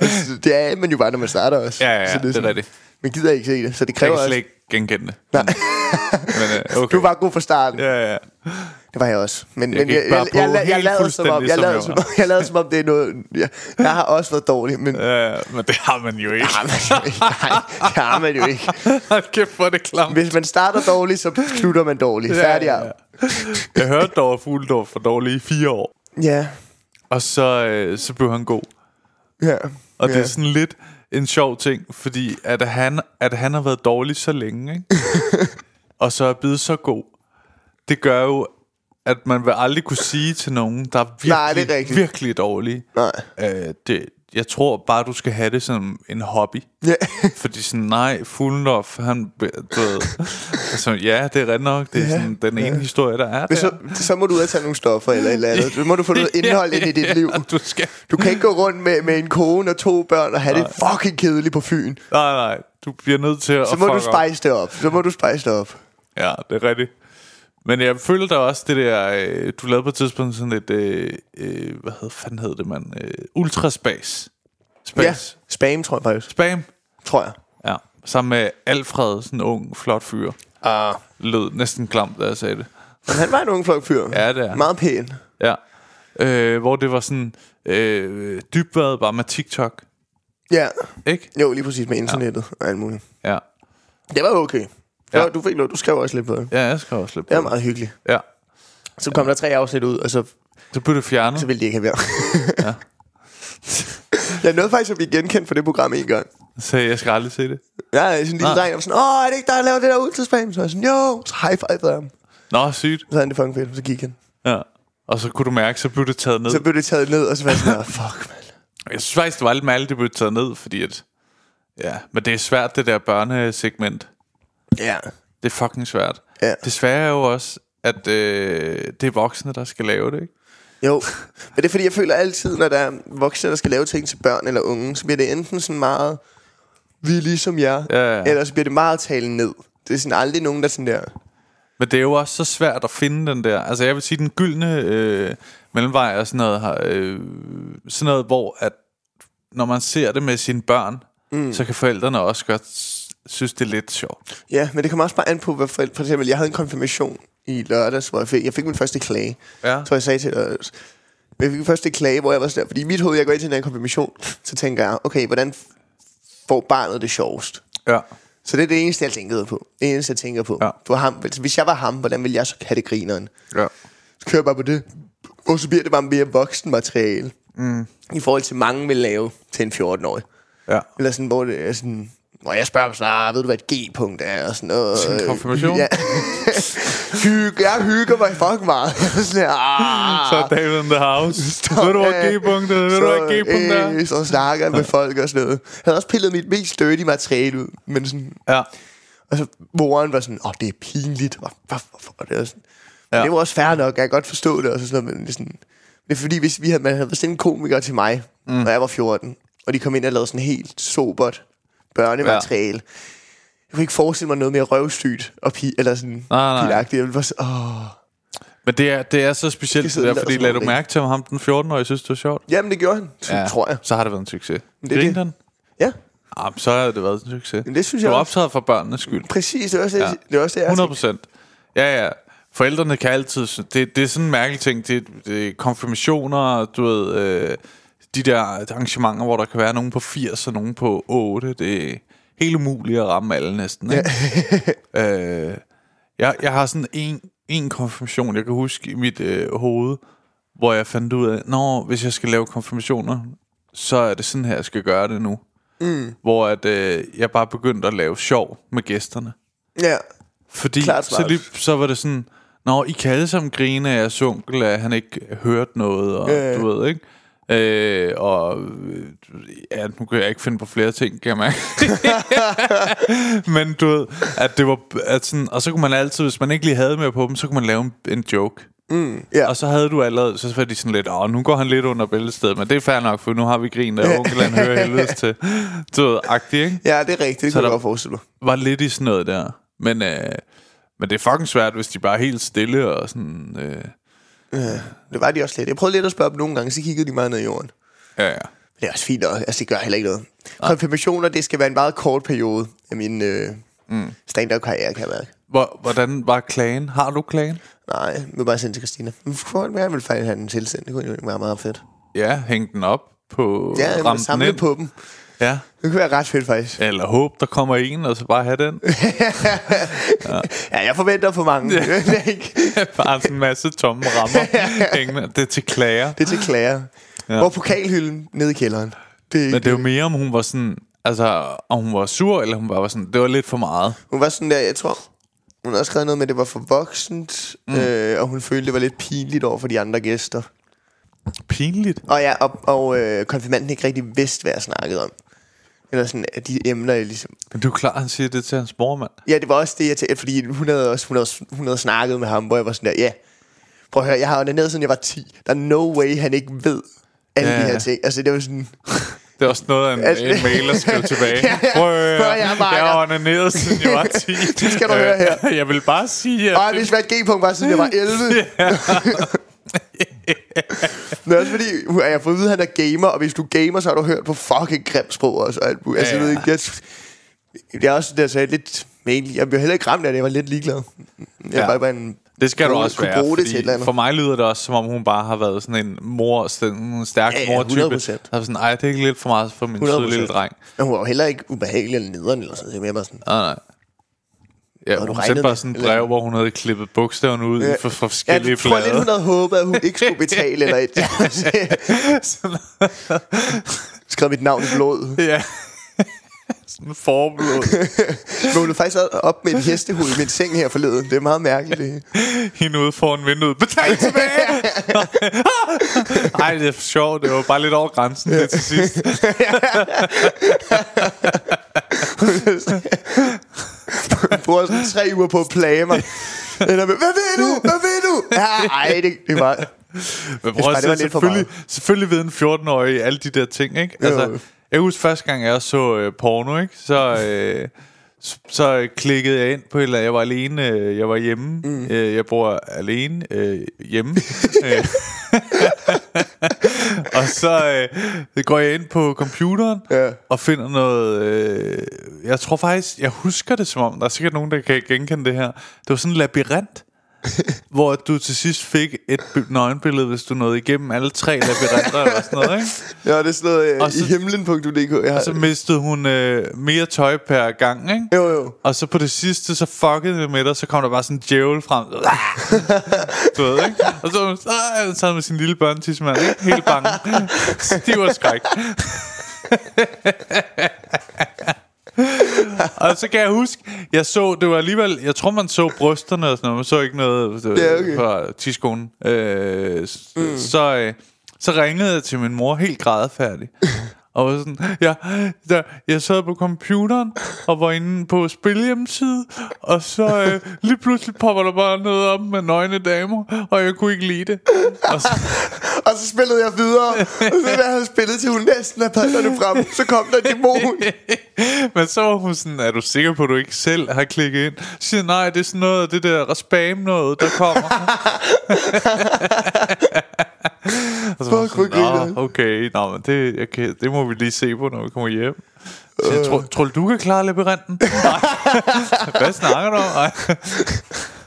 Og så Det er man jo bare, når man starter også. Ja, ja, ja, så det er sådan, rigtigt. Man gider ikke se det, så det Jeg kræver kan slet også... ikke genkende det. Men, men, øh, okay. Du var god fra starten. Ja. Ja, ja. Det var jeg også. Men, Jeg men gik jeg, bare jeg, jeg, på jeg, jeg helt lavede som om, fuldstændig, jeg som lavede jeg som, var. om- jeg lavede som om, det er noget... Jeg, jeg har også været dårlig, men... Ja. Øh, men det har man jo ikke. Har man jo ikke. Nej, det har man jo ikke. Hold kæft, hvor er det klamt. Hvis man starter dårligt, så slutter man dårligt. Færdig. Ja, ja. Jeg hørte dog, at Fugledorf var dårlig i fire år. ja. Og så, øh, så blev han god. ja. Og ja. det ja. er sådan lidt en sjov ting, fordi at han, at han har været dårlig så længe, ikke? og så er blevet så god, det gør jo, at man vil aldrig kunne sige til nogen, der er virkelig, Nej, det er rigtigt. virkelig dårlig. Nej. Øh, det, jeg tror bare, du skal have det som en hobby. Ja. Fordi sådan, nej, Fuglendorf, han... Du ved, altså, ja, det er ret nok. Det er sådan, den ene historie, der er der. Men så, så må du ud og tage nogle stoffer eller et eller andet. Så må du få noget indhold ind i dit liv. Ja, du skal... Du kan ikke gå rundt med, med en kone og to børn og have det fucking kedeligt på Fyn. Nej, nej, du bliver nødt til at Så må fuck du op. spice det op. Så må du spice det op. Ja, det er rigtigt. Men jeg føler da også det der, øh, du lavede på et tidspunkt sådan et, øh, øh, hvad hed, fanden hed det, mand? Øh, ultraspace. Ja. Space. Ja. Spam, tror jeg faktisk. Spam. Tror jeg. Ja. Sammen med Alfred, sådan en ung, flot fyr. Ah. Lød næsten klamt, da jeg sagde det. Men han var en ung flok fyr. Ja, det er han. Meget pæn. Ja. Øh, hvor det var sådan, øh, dybværet bare med TikTok. Ja. Ikke? Jo, lige præcis med internettet ja. og alt muligt. Ja. Det var okay. Ja. Ja. Du, fik noget. du skrev også lidt på det. Ja, jeg skal også lidt på Det var meget hyggeligt. Ja. Så kom ja. der tre afsnit ud, og så, Så blev det fjernet. så ville de ikke have været. ja. jeg nåede faktisk at blive genkendt for det program en gang. Så jeg skal aldrig se det. Ja, sådan Ah. en lille dreng, der var sådan, åh, er det ikke dig, der laver det der ultraspam? Så var jeg sådan, jo, så high fivede ham. Nå, sygt. Så havde han det fucking fedt, så gik han. Ja. Og så kunne du mærke, så blev det taget ned. Så blev det taget ned, og så var jeg sådan, "Nå, fuck, mand. Jeg synes faktisk, det var lidt mærkeligt, det blev taget ned, fordi at... Ja, men det er svært, det der børnesegment. Ja. Det er fucking svært. Ja. Desværre er jo også, at øh, det er voksne, der skal lave det, ikke? Jo, men det er fordi, jeg føler altid, når der er voksne, der skal lave ting til børn eller unge, så bliver det enten sådan meget, vi er ligesom jer, Ja, ja. eller så bliver det meget talen ned. Det er sådan aldrig nogen, der sådan der, Men det er jo også så svært at finde den der... Altså, jeg vil sige, den gyldne øh, mellemvej er sådan noget, her, øh, sådan noget, hvor at når man ser det med sine børn, mm. så kan forældrene også godt s- synes, det er lidt sjovt. Ja, men det kommer også bare an på, hvad for, for eksempel, jeg havde en konfirmation i lørdags, hvor jeg fik, jeg fik min første klage. Ja. Så jeg sagde til dig, jeg fik min første klage, hvor jeg var sådan der, fordi i mit hoved, jeg går ind til den her konfirmation, så tænker jeg, okay, hvordan får barnet det sjovest? Ja. Så det er det eneste, jeg tænker på. Det eneste, jeg tænker på. Ja. Du var ham, altså, hvis jeg var ham, hvordan ville jeg så have det grineren? Ja. Så kører jeg bare på det. Og så bliver det bare mere voksenmateriale. Mm. I forhold til, mange vil lave til en 14-årig. Ja. Eller sådan, hvor det er sådan... Hvor jeg spørger dem sådan, ah, ved du, hvad et G-punkt er? Og sådan noget. Sådan en konfirmation? Ja. Hygge, jeg hygger mig fucking meget. sådan her, ah. Så er David in the house. Stop, Ved du, hvor ja. G-punktet er? Ved du, Så, hvor G-punktet er? øh, Så snakker jeg med folk og sådan noget. Jeg havde også pillet mit mest dirty materiale ud. Men sådan, Ja. og så moren var sådan, åh, det er pinligt. Hvor- hvor- Hvorfor er det? Og Sådan. Ja. Ja. Det var også fair nok, jeg kan godt forstå det. Og så sådan, noget, men det er sådan, det er fordi, hvis vi havde, man havde sendt en komiker til mig, mm. når jeg var 14, og de kom ind og lavede sådan helt sobert børnemateriale. Jeg kunne ikke forestille mig noget mere røvsygt og pi, eller sådan Nej, nej. pilagtigt. Jeg ville bare sådan, åh. Men det er, det er så specielt, Skal det sidde der, og lade fordi som lagde om du det ikke- mærke til ham, den 14-årige, synes det var sjovt? Jamen, det gjorde han, ja. tror jeg. Så har det været en succes. det er Grinte det. han? Ja, Ah, men så har det været en succes. Men det synes du jeg er også. optaget for børnenes skyld. præcis. Det var også det, Ja. det, var også det jeg 100 tænkte. procent. Ja, ja. Forældrene kan altid... sy- Det, det er sådan en mærkelig ting. Det, det er konfirmationer, du ved... Øh, de der arrangementer, hvor der kan være nogen på 80 og nogen på 8. Det er helt umuligt at ramme alle næsten. Ikke? øh, jeg, jeg har sådan en, en konfirmation, jeg kan huske i mit øh, hoved, hvor jeg fandt ud af, når hvis jeg skal lave konfirmationer, så er det sådan her, jeg skal gøre det nu. Mm. Hvor at, øh, jeg bare begyndte at lave sjov med gæsterne. Ja, Fordi Klart så, smart. lige, så var det sådan, Nå, I kan alle sammen grine af jeres onkel, at han ikke hørte noget, og øh. Øh. du ved, ikke? Øh, og øh, ja, nu kan jeg ikke finde på flere ting, kan jeg mærke. Men du ved, at det var at sådan, og så kunne man altid, hvis man ikke lige havde med på dem, så kunne man lave en, en joke. Mm, ja. Og så havde du allerede, så var de sådan lidt, åh, nu går han lidt under bæltestedet, men det er fair nok, for nu har vi grin, der onkel, han hører helvedes til. Du ved, agtig, ikke? ja, det er rigtigt. Det kunne der- jeg godt forestille mig. var lidt i sådan noget der. Men, øh, men det er fucking svært, hvis de bare er helt stille og sådan... Øh, Det var de også lidt. Jeg prøvede lidt at spørge dem nogle gange, så kiggede de meget ned i jorden. ja, ja. Men det er også fint nok. Altså, det gør heller ikke noget. Konfirmationer, det skal være en meget kort periode Mm. af min øh, stand-up-karriere, kan jeg mærke. Hvor, hvordan var klagen? Har du klagen? Nej, nu vil jeg bare sende til Christina. Men Hvorfor vil jeg vil faktisk have den tilsendt? Det kunne jo være meget fedt. Ja, hæng den op på Ja, jeg ramme vil den samle ind. på dem. Ja. Det kunne være ret fedt, faktisk. Eller håb, der kommer en, og så bare have den. Ja, jeg forventer for mange. Ja. det er ikke. bare sådan en masse tomme rammer. hængende. Det er til klager. Det er til klager. Ja. Hvor pokalhylden nede i kælderen. Det er ikke, Men det er jo mere, om hun var sådan... Altså, om hun var sur, eller hun bare var sådan... Det var lidt for meget. Hun var sådan der, jeg tror, hun har også skrevet noget med, at det var for voksent, mm. øh, og hun følte, det var lidt pinligt over for de andre gæster. Pinligt. Og ja, og, og øh, konfirmanden ikke rigtig vidste, hvad jeg snakkede om. Eller sådan, at de emner, jeg ligesom... Men du er klar, han siger det til hans mor, mand. Ja, det var også det, jeg tænkte, fordi hun havde, også, hun, havde, hun havde snakket med ham, hvor jeg var sådan der, ja, prøv at høre, jeg har onaneret, siden jeg var 10. Der er no way, han ikke ved alle Ja, de her ja. ting. Altså, det var sådan... Det er også noget, en, Altså- altså, en mailer skrev tilbage. Ja, ja. Prøv at Prøv høre, at jeg jeg bakker." har onaneret, siden jeg var 10. Det skal du høre her. Jeg vil bare sige, at... Ej, hvis hvad et G-punkt var, siden jeg var 11. Yeah. Men også fordi, uh, jeg har fået at vide, at han er gamer, og hvis du er gamer, så har du hørt på fucking grimt sprog også. Og alt muligt. altså, Ja, ja, ja. ja. Jeg, ved ikke, jeg, jeg er også, der sagde lidt, men egentlig, jeg blev heller ikke ramt af det, jeg var lidt ligeglad. Jeg Ja. ja. var bare en, Det skal du kunne- også kunne være, bruge det til et eller fordi andet. for mig lyder det også, som om hun bare har været sådan en mor, sådan en stærk Ja, ja, mor-type. 100%. Der er sådan, ej, det er ikke lidt for meget for min søde lille dreng. Men hun var jo heller ikke ubehagelig eller nederen eller sådan noget. Jeg var sådan, Nej, nej. Ja, Nå, du hun regnede sendte bare med- sådan et eller- brev, hvor hun havde klippet bogstaverne ud ja. fra, fra jeg forskellige tror lidt, flader. hun havde håbet, at hun ikke skulle betale eller et. Skrev mit navn i blod. ja. sådan en forblod. Men hun er faktisk op med et hestehud i min seng her forleden. Det er meget mærkeligt. det. Hende ude foran vinduet. Betal tilbage! Ej, det er for sjovt. Det var bare lidt over grænsen det til sidst. Hun bruger sådan tre uger på at plage mig. Eller med, hvad ved du? Hvad ved du? Ja, ej, det, det var... Men Jeg synes prøv bare, at det var se, lidt for selvfølgelig, selvfølgelig ved en 14-årig alle de der ting, ikke? Altså, Jo. jeg husker første gang, jeg så øh, porno, ikke? Så, øh, så, så øh, klikkede jeg ind på et eller andet. Jeg var alene, øh, jeg var hjemme. Mm. Øh, jeg bor alene øh, hjemme. Øh, og så øh, går jeg ind på computeren Ja. og finder noget... Øh, jeg tror faktisk, jeg husker det som om, der er sikkert nogen, der kan genkende det her. Det var sådan en labyrint hvor du til sidst fik et by- nøgenbillede, hvis du nåede igennem alle tre labyrinter eller sådan noget, ikke? Ja, det er sådan noget øh, Og så- i himlen.dk. Jeg har, Så mistede hun øh, mere tøj per gang, ikke? Jo, jo. Og så på det sidste, så fuckede det med dig, så kom der bare sådan en djævel frem. du ved, ikke? Og så var hun sådan, "Ah," sad med sin lille børnetidsmand, ikke? Helt bange. Stiv og skræk. og så kan jeg huske, jeg så, det var alligevel, jeg tror man så brysterne og sådan noget, man så ikke noget øh, Ja, okay. Mm. fra tidskolen. Øh, s- så, øh, så ringede jeg til min mor helt grædefærdig. og var sådan, jeg, der, jeg sad på computeren og var inde på spilhjemmeside, og så øh, lige pludselig popper der bare noget op med nøgne damer, og jeg kunne ikke lide det. Og så, Og så spillede jeg videre. Og så da jeg havde spillet til hun næsten havde padderne frem, så kom der en dæmon. Men så var hun sådan, er du sikker på, at du ikke selv har klikket ind? Så siger jeg, nej, det er sådan noget, af det der spam noget, der kommer. og så var hun Fuck, hvor sådan, grineren. Nå, okay, nå, men det, okay, det må vi lige se på, når vi kommer hjem. Så jeg, Øh. tror, tror du, du kan klare labyrinten? Nej. Hvad snakker du om? Ej.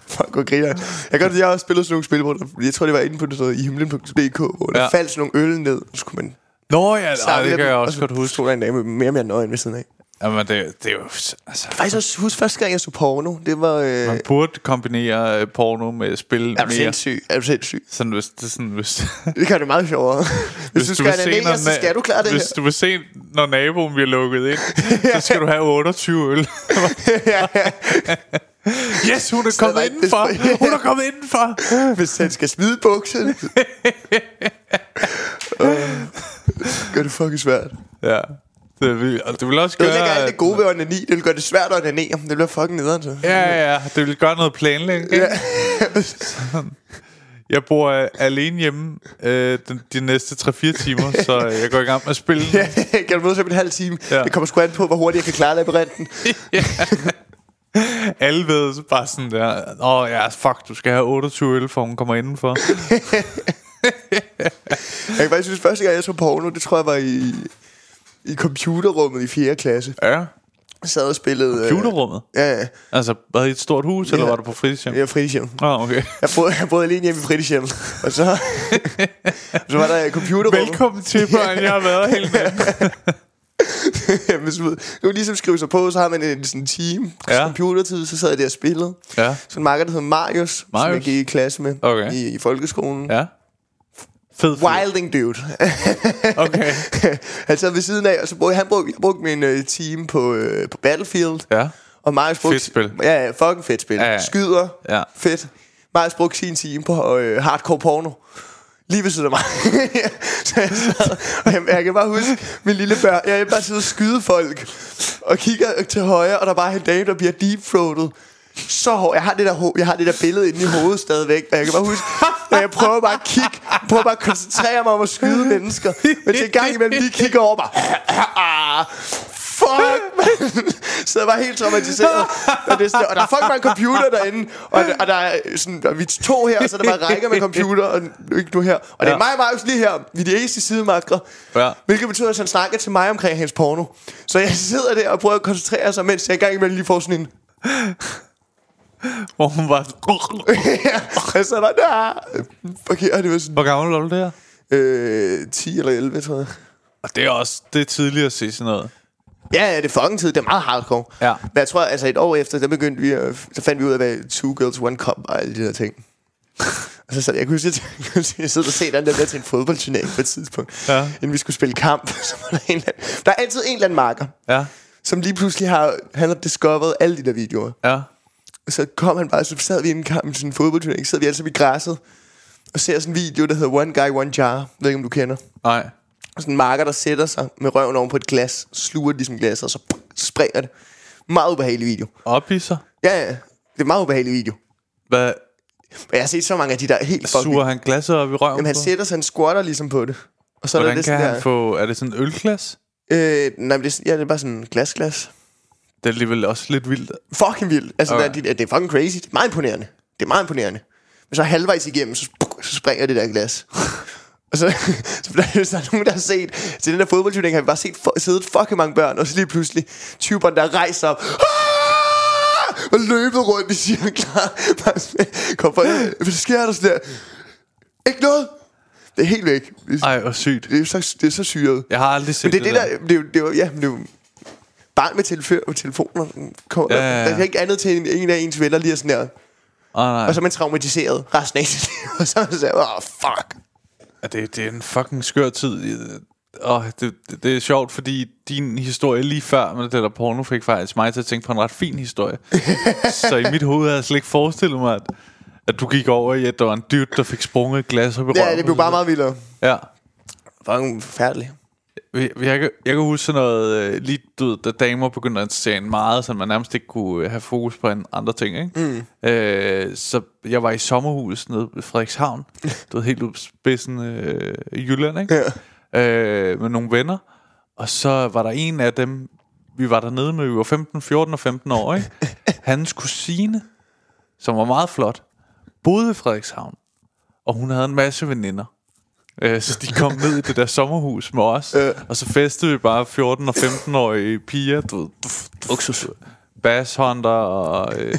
Fuck, hvor griner jeg. Jeg kan godt lide, jeg har også spillet sådan nogle spil, hvor der, jeg tror, det var inde på noget i himlen.dk, hvor der Ja. ja. faldt sådan nogle øl ned. Så skulle man Nå ja, ej, samle det kan dem, jeg også så godt huske. stod der en dame med mere og mere nøgen ved siden af. Jamen, det, det er jo... Altså, Faktisk også husk første gang, jeg så porno. Det var... Øh, man burde kombinere øh, porno med spil er du mere. sindssyg? Er du sindssyg? Sådan, hvis, det, er sådan, hvis, Det gør det meget sjovere. Hvis, hvis du skal ananere, så na- skal du klare det Hvis her. du vil se, når naboen bliver lukket ind, så skal du have 28 øl. yes, hun er kommet var ikke indenfor. det- Hun er kommet indenfor. Hvis han skal smide bukserne. uh, gør det fucking svært. Ja. Det vil, og det vil også Det gøre... ødelægger alt at- det gode ved onani. Det vil gøre det svært at onanere. Det bliver fucking nederen så. Ja, ja, det vil gøre noget planlægning. Ja. Jeg bor øh, alene hjemme øh, den, de næste 3-4 timer, så øh, jeg går i gang med at spille. Ja. kan du mødes om en halv time? Ja. Ja. Det kommer sgu an på, hvor hurtigt jeg kan klare labyrinten. Alle ved så bare sådan der, åh ja, fuck, du skal have 28 øl, for hun kommer indenfor. Jeg kan faktisk synes, første gang jeg så porno, det tror jeg var i, i computerrummet i 4. klasse. Ja. sad og spillede... øh, Computerrummet? Ja, ja. Altså, var det i et stort hus, ja. eller var du på fritidshjem? Jeg var fritidshjem. Nå, okay. Jeg boede, jeg boede alene hjemme i fritidshjem. Og så, så var der computerrummet. Velkommen til, børn. Jeg har været hele natten. Hvis man, det var ligesom skrive sig på, så har man en sådan team, Ja. ja. computertid, så sad jeg der og spillede. Ja. Så en makker, der hedder Marius, som jeg Marius? gik i klasse med Okay. i, i folkeskolen. Ja. Fed fyr. Wilding dude. Okay. han sad ved siden af, og så brugte han brugte, jeg brugte min øh, team på, øh, på Battlefield. Ja. Og Marius brugte... Fedt spil. Ja, ja, fucking fedt spil. Ja, Ja, ja. ja. Skyder. Ja. Fedt. Marius brugte sin time på øh, hardcore porno. Lige ved siden af mig. så jeg, sad, og jeg, jeg kan bare huske min lille børn. Jeg er bare sidde og skyde folk. Og kigger til højre, og der er bare en dame, der bliver deepthroatet. Så hård. Jeg har, det der, ho- jeg har det der billede inde i hovedet stadigvæk. Og jeg kan bare huske, at jeg prøver bare at kigge. Prøver bare at koncentrere mig om at skyde mennesker. Men til en gang imellem lige kigger over bare. Fuck, man. Så jeg var helt traumatiseret. Og, det er sådan, og der er fucking mange computer derinde. Og, og der er sådan, og vi er to her, og så er der bare rækker med computer, og ikke nu her. Og det er Ja. mig og Marius lige her. Vi er de eneste sidemakre. Ja. Hvilket betyder, at han snakker til mig omkring hans porno. Så jeg sidder der og prøver at koncentrere sig, mens jeg engang imellem lige får sådan en... Hvor hun var... og så var der... Okay, og det var sådan... Hvor gammel var du der? Øh, 10 eller 11, tror jeg. Og det er også... Det er tidligt at se sådan noget. Ja, ja, det er fucking tid. Det er meget hardcore. Ja. Men jeg tror, altså et år efter, der begyndte vi at, så fandt vi ud af, hvad Two Girls, One Cup var, og alle de der ting. og så sad jeg, kunne huske, jeg, jeg, jeg sidder og se den der med til en fodboldturnering på et tidspunkt, Ja. inden vi skulle spille kamp. så var der, en eller anden, der er altid en eller anden marker, Ja. som lige pludselig har, han har discovered alle de der videoer. Ja. Og så kom han bare, så sad vi i en kamp, sådan en fodboldturnering, så sad vi alle sammen i græsset, og ser sådan en video, der hedder One Guy, One Jar. Jeg ved ikke, om du kender Nej. sådan en marker, der sætter sig med røven oven på et glas, sluger det ligesom glas, og så spreder det. Meget ubehagelig video. Oppisser. Ja, ja, det er en meget ubehagelig video. Hvad? Og jeg har set så mange af de der er helt fucking... Suger han glasset op i røven Jamen, han på? sætter sig, han squatter ligesom på det. Og så Hvordan er der det kan sådan han der... få... Er det sådan en ølglas? Øh, nej, men det, er sådan- ja, det er bare sådan en glasglas. Det er alligevel også lidt vildt. Fucking vildt. Altså, Okay. okay. det, er, det er fucking crazy. Det er meget imponerende. Det er meget imponerende. Men så halvvejs igennem, så, så springer det der glas. og så, så der, hvis der er nogen, der har set... Til den der fodboldturnering har vi bare set for, siddet fucking mange børn, og så lige pludselig 20 børn, der rejser op. "Ah!" og løbet rundt i cirkler. Bare sådan, Kom for, hvad sker der sådan der? Ikke noget. Det er helt væk. Det, Ej, og sygt. det, er, så, det er så syret. Jeg har aldrig set Men det er det, der... Det er, jo- det er, jo- ja, men det er jo barn med telefø- og telefoner. Kom, Ja, ja, ja, ja. ja, ja. Der er ikke andet til en, en af ens venner lige er sådan der. Oh, nej. Og så er man traumatiseret resten af ens liv. Og så er man sådan, åh, oh, fuck. Ja, det, det er en fucking skør tid. Og det, det, det er sjovt, fordi din historie lige før med det der porno fik faktisk mig til at tænke på en ret fin historie. så i mit hoved havde jeg slet ikke forestillet mig, at, at du gik over i, at der var en dyrt, der fik sprunget et glas op i Ja, røven. det blev bare meget vildere. Ja. Fucking forfærdeligt. Jeg, jeg, kan, jeg kan huske sådan noget, øh, lige du ved, da damer begyndte at interessere en meget, så man nærmest ikke kunne øh, have fokus på en, andre ting. Ikke? Mm. Øh, så jeg var i sommerhus nede ved Frederikshavn, du ved, helt ude på spidsen øh, i Jylland, ikke? Ja. Øh, med nogle venner. Og så var der en af dem, vi var dernede med, vi var 15, 14 og 15 år, ikke? hans kusine, som var meget flot, boede i Frederikshavn, og hun havde en masse veninder. Øh, Så de kom ned i det der sommerhus med os, øh. og så festede vi bare 14- og 15-årige piger, du ved, duf, duf, Uksus. Basshunter og øh,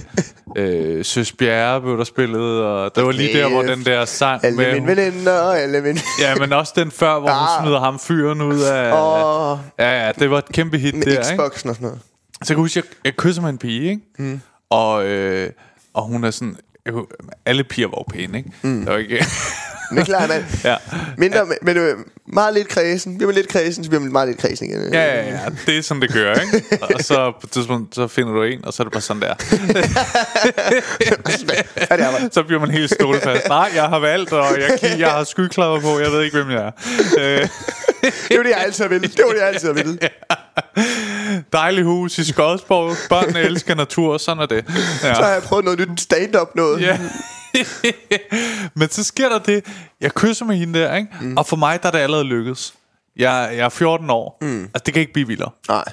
øh, Søs Bjerre blev der spillet, og det var lige der, hvor den der sang Alle mine med... veninder, alle mine... Ja, men også den før, hvor hun Ah. smider ham fyren ud af... Åh. Ja, ja, det var et kæmpe hit Med der, ikke? Xboxen og sådan noget. Så jeg kan huske, jeg, jeg kysser med en pige, ikke? Mm. Og, øh, og hun er sådan... Jeg kunne, alle piger var jo pæne, ikke? Mm. Der var ikke... Men det er klart, mand. ja. Mindre, men øh, meget lidt kredsen. Bliver man lidt kredsen, så bliver man meget lidt kredsen igen. Ja, ja, ja, det er sådan, det gør, ikke? Og så på et tidspunkt, så finder du en, og så er det bare sådan der. ja det er man. så bliver man helt stålfast. Nej, jeg har valgt, og jeg, kig- jeg har skyklapper på, jeg ved ikke, hvem jeg er. Øh, Det var det, jeg altid har ville. Det var det, jeg altid har ville. dejlig hus i Skodsborg. Børnene elsker natur, sådan er det. Ja. Så har jeg prøvet noget nyt stand-up noget. Ja. Men så sker der det, jeg kysser med hende der, ikke? Mm. og for mig der er det allerede lykkedes. Jeg, jeg er 14 år, mm. altså det kan ikke blive vildere. Nej.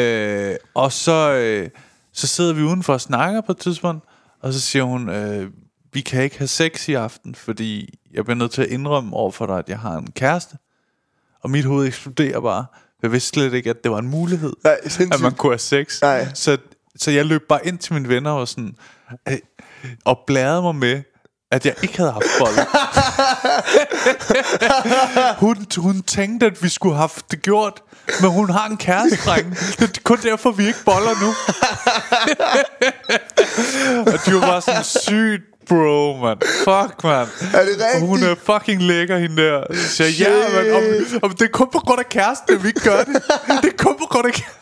Øh, og så, øh, så sidder vi udenfor og snakker på et tidspunkt, og så siger hun, øh, vi kan ikke have sex i aften, fordi jeg bliver nødt til at indrømme over for dig, at jeg har en kæreste. Og mit hoved eksploderer bare. Jeg vidste slet ikke, at det var en mulighed, Nej, at sindssygt. man kunne have sex. Nej. Så, så jeg løb bare ind til mine venner og sådan, øh, og blærede mig med, at jeg ikke havde haft bold. hun, hun tænkte, at vi skulle have haft det gjort, men hun har en kæreste, drenge. Det er kun derfor, vi ikke boller nu. og de var bare sådan, sygt bro, man. Fuck, man. Er det rigtigt? Hun er fucking lækker, hende der. Så jeg, ja, man. Om, om, det er kun på grund af kæresten, at vi ikke gør det. Det er kun på grund af kæresten.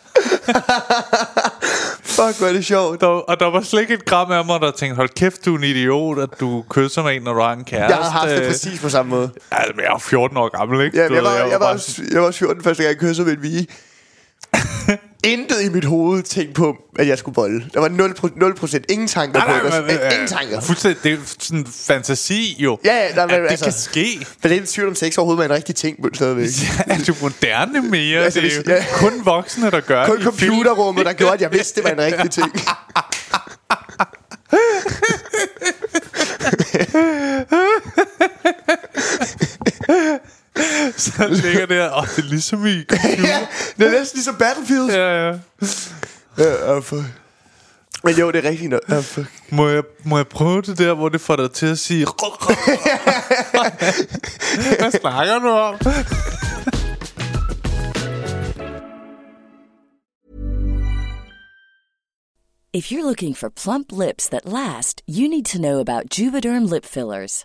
Fuck, hvor er det sjovt. Der, og der var slet ikke et gram af mig, der tænkte, hold kæft, du er en idiot, at du kysser med en, når du har en kæreste. Jeg har haft det præcis på samme måde. Altså, men jeg er 14 år gammel, ikke? Ja, Du jeg, ved, var, jeg, var, bare også- jeg var også 14 første gang, jeg kyssede med en vige. Intet i mit hoved tænkte på, at jeg skulle bolle. Der var 0%, 0% ingen tanker Nej, på nej, det. men, øh, Ingen tanker. Fuldstændig, det er sådan en fantasi jo. Ja, ja, nej, men at det altså- kan ske. Men det er en tvivl om sex overhovedet var en rigtig ting, men stadigvæk. Ja, er du moderne mere? Altså, Altså, det er hvis- jo ja. ja. kun voksne, der gør Kun det. i computerrummet, der gjorde, at jeg vidste, det var en rigtig ting. film. Der ligger der, og det er ligesom i computer. ja, det er næsten ligesom Battlefield. Ja. ja, ja. Uh, uh, fuck. Men jo, det er rigtigt. Uh, Ah, fuck. Må jeg, må jeg prøve det der, hvor det får dig til at sige... Hvad snakker du om? If you're looking for plump lips that last, you need to know about Juvederm lip fillers.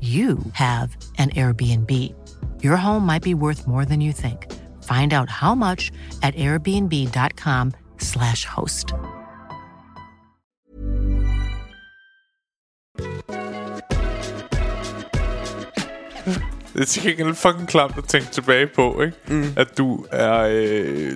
you have an Airbnb. Your home might be worth more than you think. Find out how much at airbnb.com/slash host. Det er til gengæld fucking klamt at tænke tilbage på, ikke? Mm. At du er... Øh,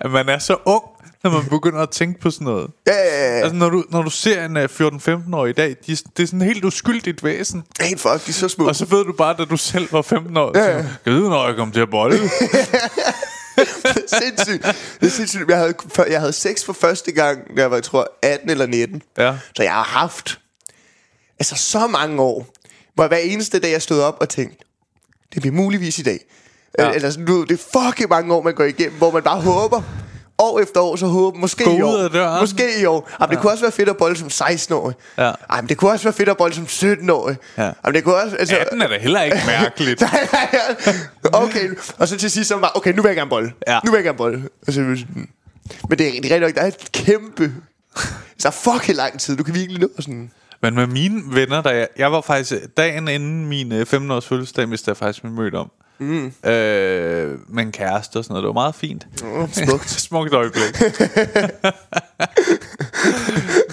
at man er så ung, når man begynder at tænke på sådan noget. Ja, ja, ja. Altså, når du, når du ser en øh, 14-15-årig i dag, de, er sådan- det er sådan helt uskyldigt væsen. Hey, fuck, de er så små. Og så ved du bare, da du selv var 15 år, ja, ja. jeg ved, når jeg kom til at bolle. Det er sindssygt. Det er sindssygt. Jeg havde, før- jeg havde sex for første gang, da jeg var, jeg tror, 18 eller 19. Ja. Så jeg har haft altså så mange år, hvor hver eneste dag, jeg stod op og tænkte, det bliver muligvis i dag. Ja. Eller sådan, du, ved, det er fucking mange år, man går igennem, hvor man bare håber. År efter år, så håber måske Gå i ud år. af døren. Måske i år. Jamen, det kunne også være fedt at bolle som 16-årig. Ja. Jamen, det kunne også være fedt at bolle som 17-årig. Ja. Jamen, det kunne også... Altså, 18 er da heller ikke mærkeligt. Nej, nej, ja. okay, og så til sidst så var bare, okay, nu vil jeg gerne bolle. Ja. Nu vil jeg gerne bolle. Og så, hmm. men det er, det er rigtigt nok, der er et kæmpe... Så er fucking lang tid, du kan virkelig nå sådan... Men med mine venner, der jeg, jeg var faktisk øh, dagen inden min øh, 15-års fødselsdag, hvis jeg faktisk blev mødt om. Mm. Øh, med en kæreste og sådan noget. Det var meget fint. Mm, smukt. smukt øjeblik.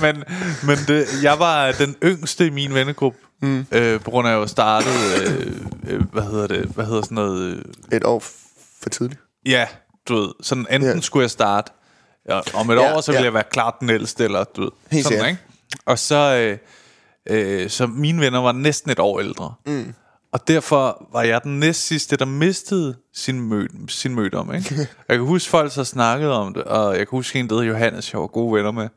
men men det, jeg var den yngste i min vennegruppe. Mm. Øh, på grund af, at jeg jo startede... Øh, øh, hvad hedder det? Hvad hedder sådan noget... Øh, Et år f- for tidligt. Ja, du ved, sådan enten Ja. yeah. skulle jeg starte, og om et Ja, yeah, år, så ville ja. yeah. jeg være klart den ældste, eller du ved, Helt sådan, sikkert. ikke? Og så, øh, øh, så mine venner var næsten et år ældre. Mm. Og derfor var jeg den næst sidste, der mistede sin, mød, sin mødom. Ikke? jeg kan huske, folk så snakkede om det, og jeg kan huske en, der hed Johannes, jeg var gode venner med.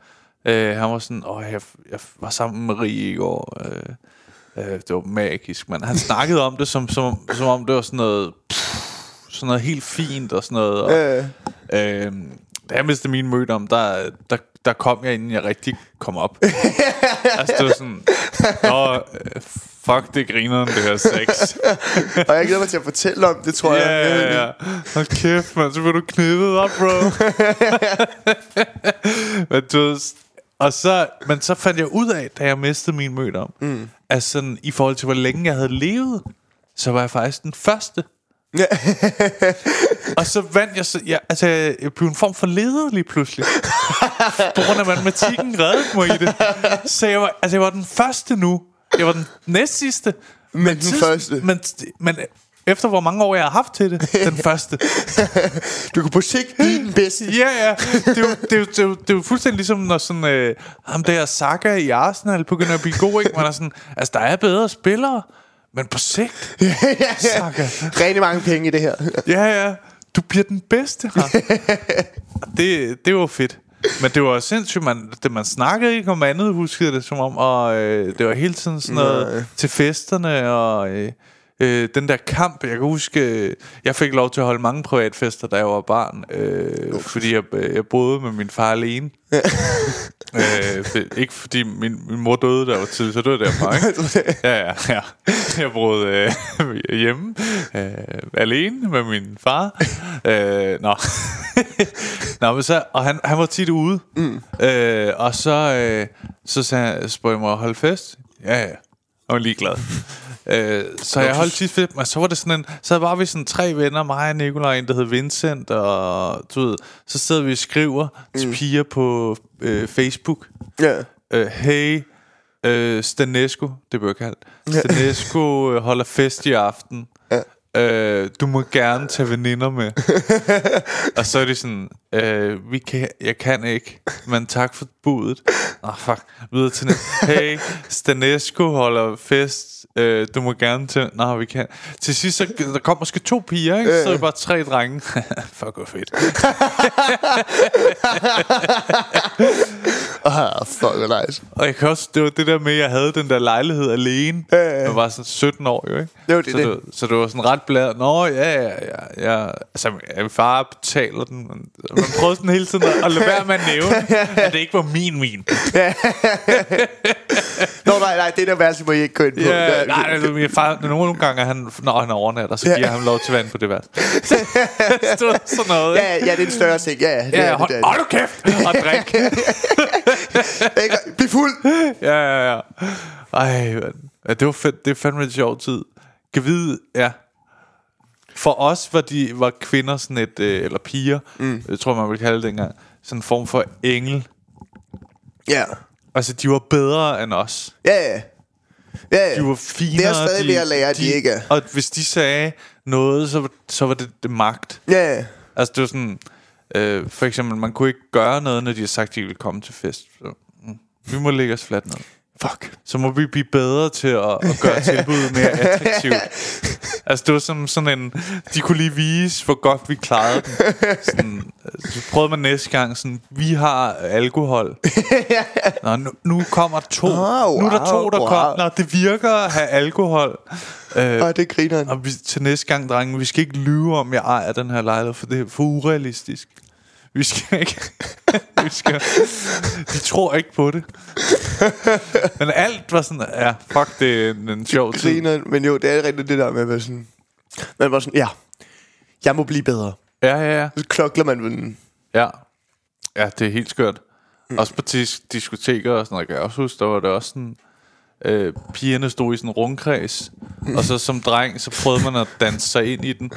Øh, han var sådan, åh, jeg, jeg var sammen med Marie i går. Øh, øh, det var magisk, men han snakkede om det, som, som, som om det var sådan noget, pff, sådan noget helt fint og sådan noget. Og, Øh, Øh, da jeg mistede min møde om, der, der, der kom jeg, inden jeg rigtig kom op. altså, det var sådan, Nå, øh, fuck, det griner det her sex. og jeg glæder mig til at fortælle om det, tror ja, jeg. ja, ja. Hold kæft, man, så bliver du knippet op, bro. men, du, ved, s- og så, men så fandt jeg ud af, da jeg mistede min møde om, mm. at sådan, i forhold til, hvor længe jeg havde levet, så var jeg faktisk den første. og så vandt jeg, så, ja, altså, jeg blev en form for leder lige pludselig. På grund af matematikken reddede mig i det. Så jeg var, altså, jeg var den første nu. Jeg var den næstsidste. Men, den første. Men, men øh, efter hvor mange år jeg har haft til det, den første. Du kan på sigt blive den bedste. Ja, ja. Det er jo, det er jo, det er jo, det er jo fuldstændig ligesom, når sådan, øh, ham der Saka i Arsenal begynder at blive god, ikke? Man er sådan, altså, der er bedre spillere, men på sigt. Saka. Rigtig mange penge i det her. Ja, ja. Du bliver den bedste her. Og det, det var fedt. Men det var sindssygt, man, det, man snakkede ikke om andet, husker jeg det som om, og øh, det var hele tiden sådan noget Nej. til festerne, og øh, øh, den der kamp, jeg kan huske, øh, jeg fik lov til at holde mange privatfester, da jeg var barn, øh, fordi jeg, øh, jeg boede med min far alene. øh, for- ikke fordi min, min mor døde der var tidligt, så døde jeg derfor, ikke? ja, ja, ja. Jeg boede øh, hjemme, øh, alene med min far. øh, nå. nå, men så, og han, han var tit ude. Mm. Øh, og så, øh, så sagde, han- spurgte jeg mig, hold fest? Ja, ja. Jeg var ligeglad. Øh, så jeg holdt tit fedt, men så var det sådan en, så var vi sådan tre venner, mig og Nikolaj, en der hed Vincent, og du ved, så sidder vi og skriver mm. til piger på øh, Facebook, Ja. øh, hey, øh, Stanesco, det blev jeg kaldt, Stanesco øh, holder fest i aften, øh, du må gerne tage veninder med. og så er det sådan, øh, vi kan, jeg kan ikke, men tak for budet. Nå, fuck, videre til næ- Hey, Stanesco holder fest, øh, du må gerne tage, nå, vi kan. Til sidst, så, der kom måske to piger, ikke? så er det bare tre drenge. fuck, hvor fedt. Ah, fuck, hvor nice. Og jeg kan også, det var det der med, at jeg havde den der lejlighed alene. Ja, ja. Jeg var sådan 17 år jo, ikke? Jo, det er så, det. var- så det var sådan ret blad. Nå, ja, ja, ja. ja. Altså, min far betaler den. men Man prøvede sådan hele tiden at, at lade være med at nævne, at det ikke var min min. Nå, nej, nej, det der værelse må I ikke gå ind på. Ja, Der- nej, altså, min far, nogle gange, er han, når han overnatter, så giver jeg ham lov til at være inde på det værelse. Så, det var sådan noget, Ja, ja, det er en større ting. Ja, ja, det Ja, er hold, det, det hold er nu kæft og drik. det. Ikke? Bliv fuld! ja, ja, ja. Ej, mand. ja, det var fedt. Det er fandme en sjov tid. Kan vide, ja. For os var, de, var kvinder sådan et, øh, eller piger, mm. jeg tror man ville kalde det dengang, sådan en form for engel. Ja, Altså, de var bedre end os. ja, ja. ja, ja. De var finere. Det er jeg stadig de- ved at lære, at de ikke er. Og hvis de sagde noget, så, var- så var det, det magt. Ja, ja. Altså, det var sådan... Øh, for eksempel, man kunne ikke gøre noget, når de havde sagt, at de ville komme til fest. Så, mm, vi må lægge os fladt ned. Fuck. så må vi blive bedre til at, at gøre tilbuddet mere attraktivt. Altså det var som sådan en, de kunne lige vise, hvor godt vi klarede den. Sådan, altså, så prøvede man næste gang sådan, vi har alkohol. Nå, nu, nu kommer to. Åh, nu er der to, Ah, wow, der wow. kommer. Nå, det virker at have alkohol. Øh, Og det griner han. og vi, til næste gang, drenge, vi skal ikke lyve om, jeg ejer den her lejlighed, for det er for urealistisk. Vi skal ikke... vi skal, de tror ikke på det. Men alt var sådan, ja, fuck, det er en, en sjov tid. Griner han. Men jo, det er rigtigt det der med at være sådan... Man var sådan, ja, jeg må blive bedre. Ja, ja, ja. Så klokler man ved den. Ja, ja det er helt skørt. Mm. Også på dis- diskoteker og sådan noget, jeg kan også huske, der var det også sådan... Øh, pigerne stod i sådan en rundkreds Og så som dreng, så prøvede man at danse sig ind i den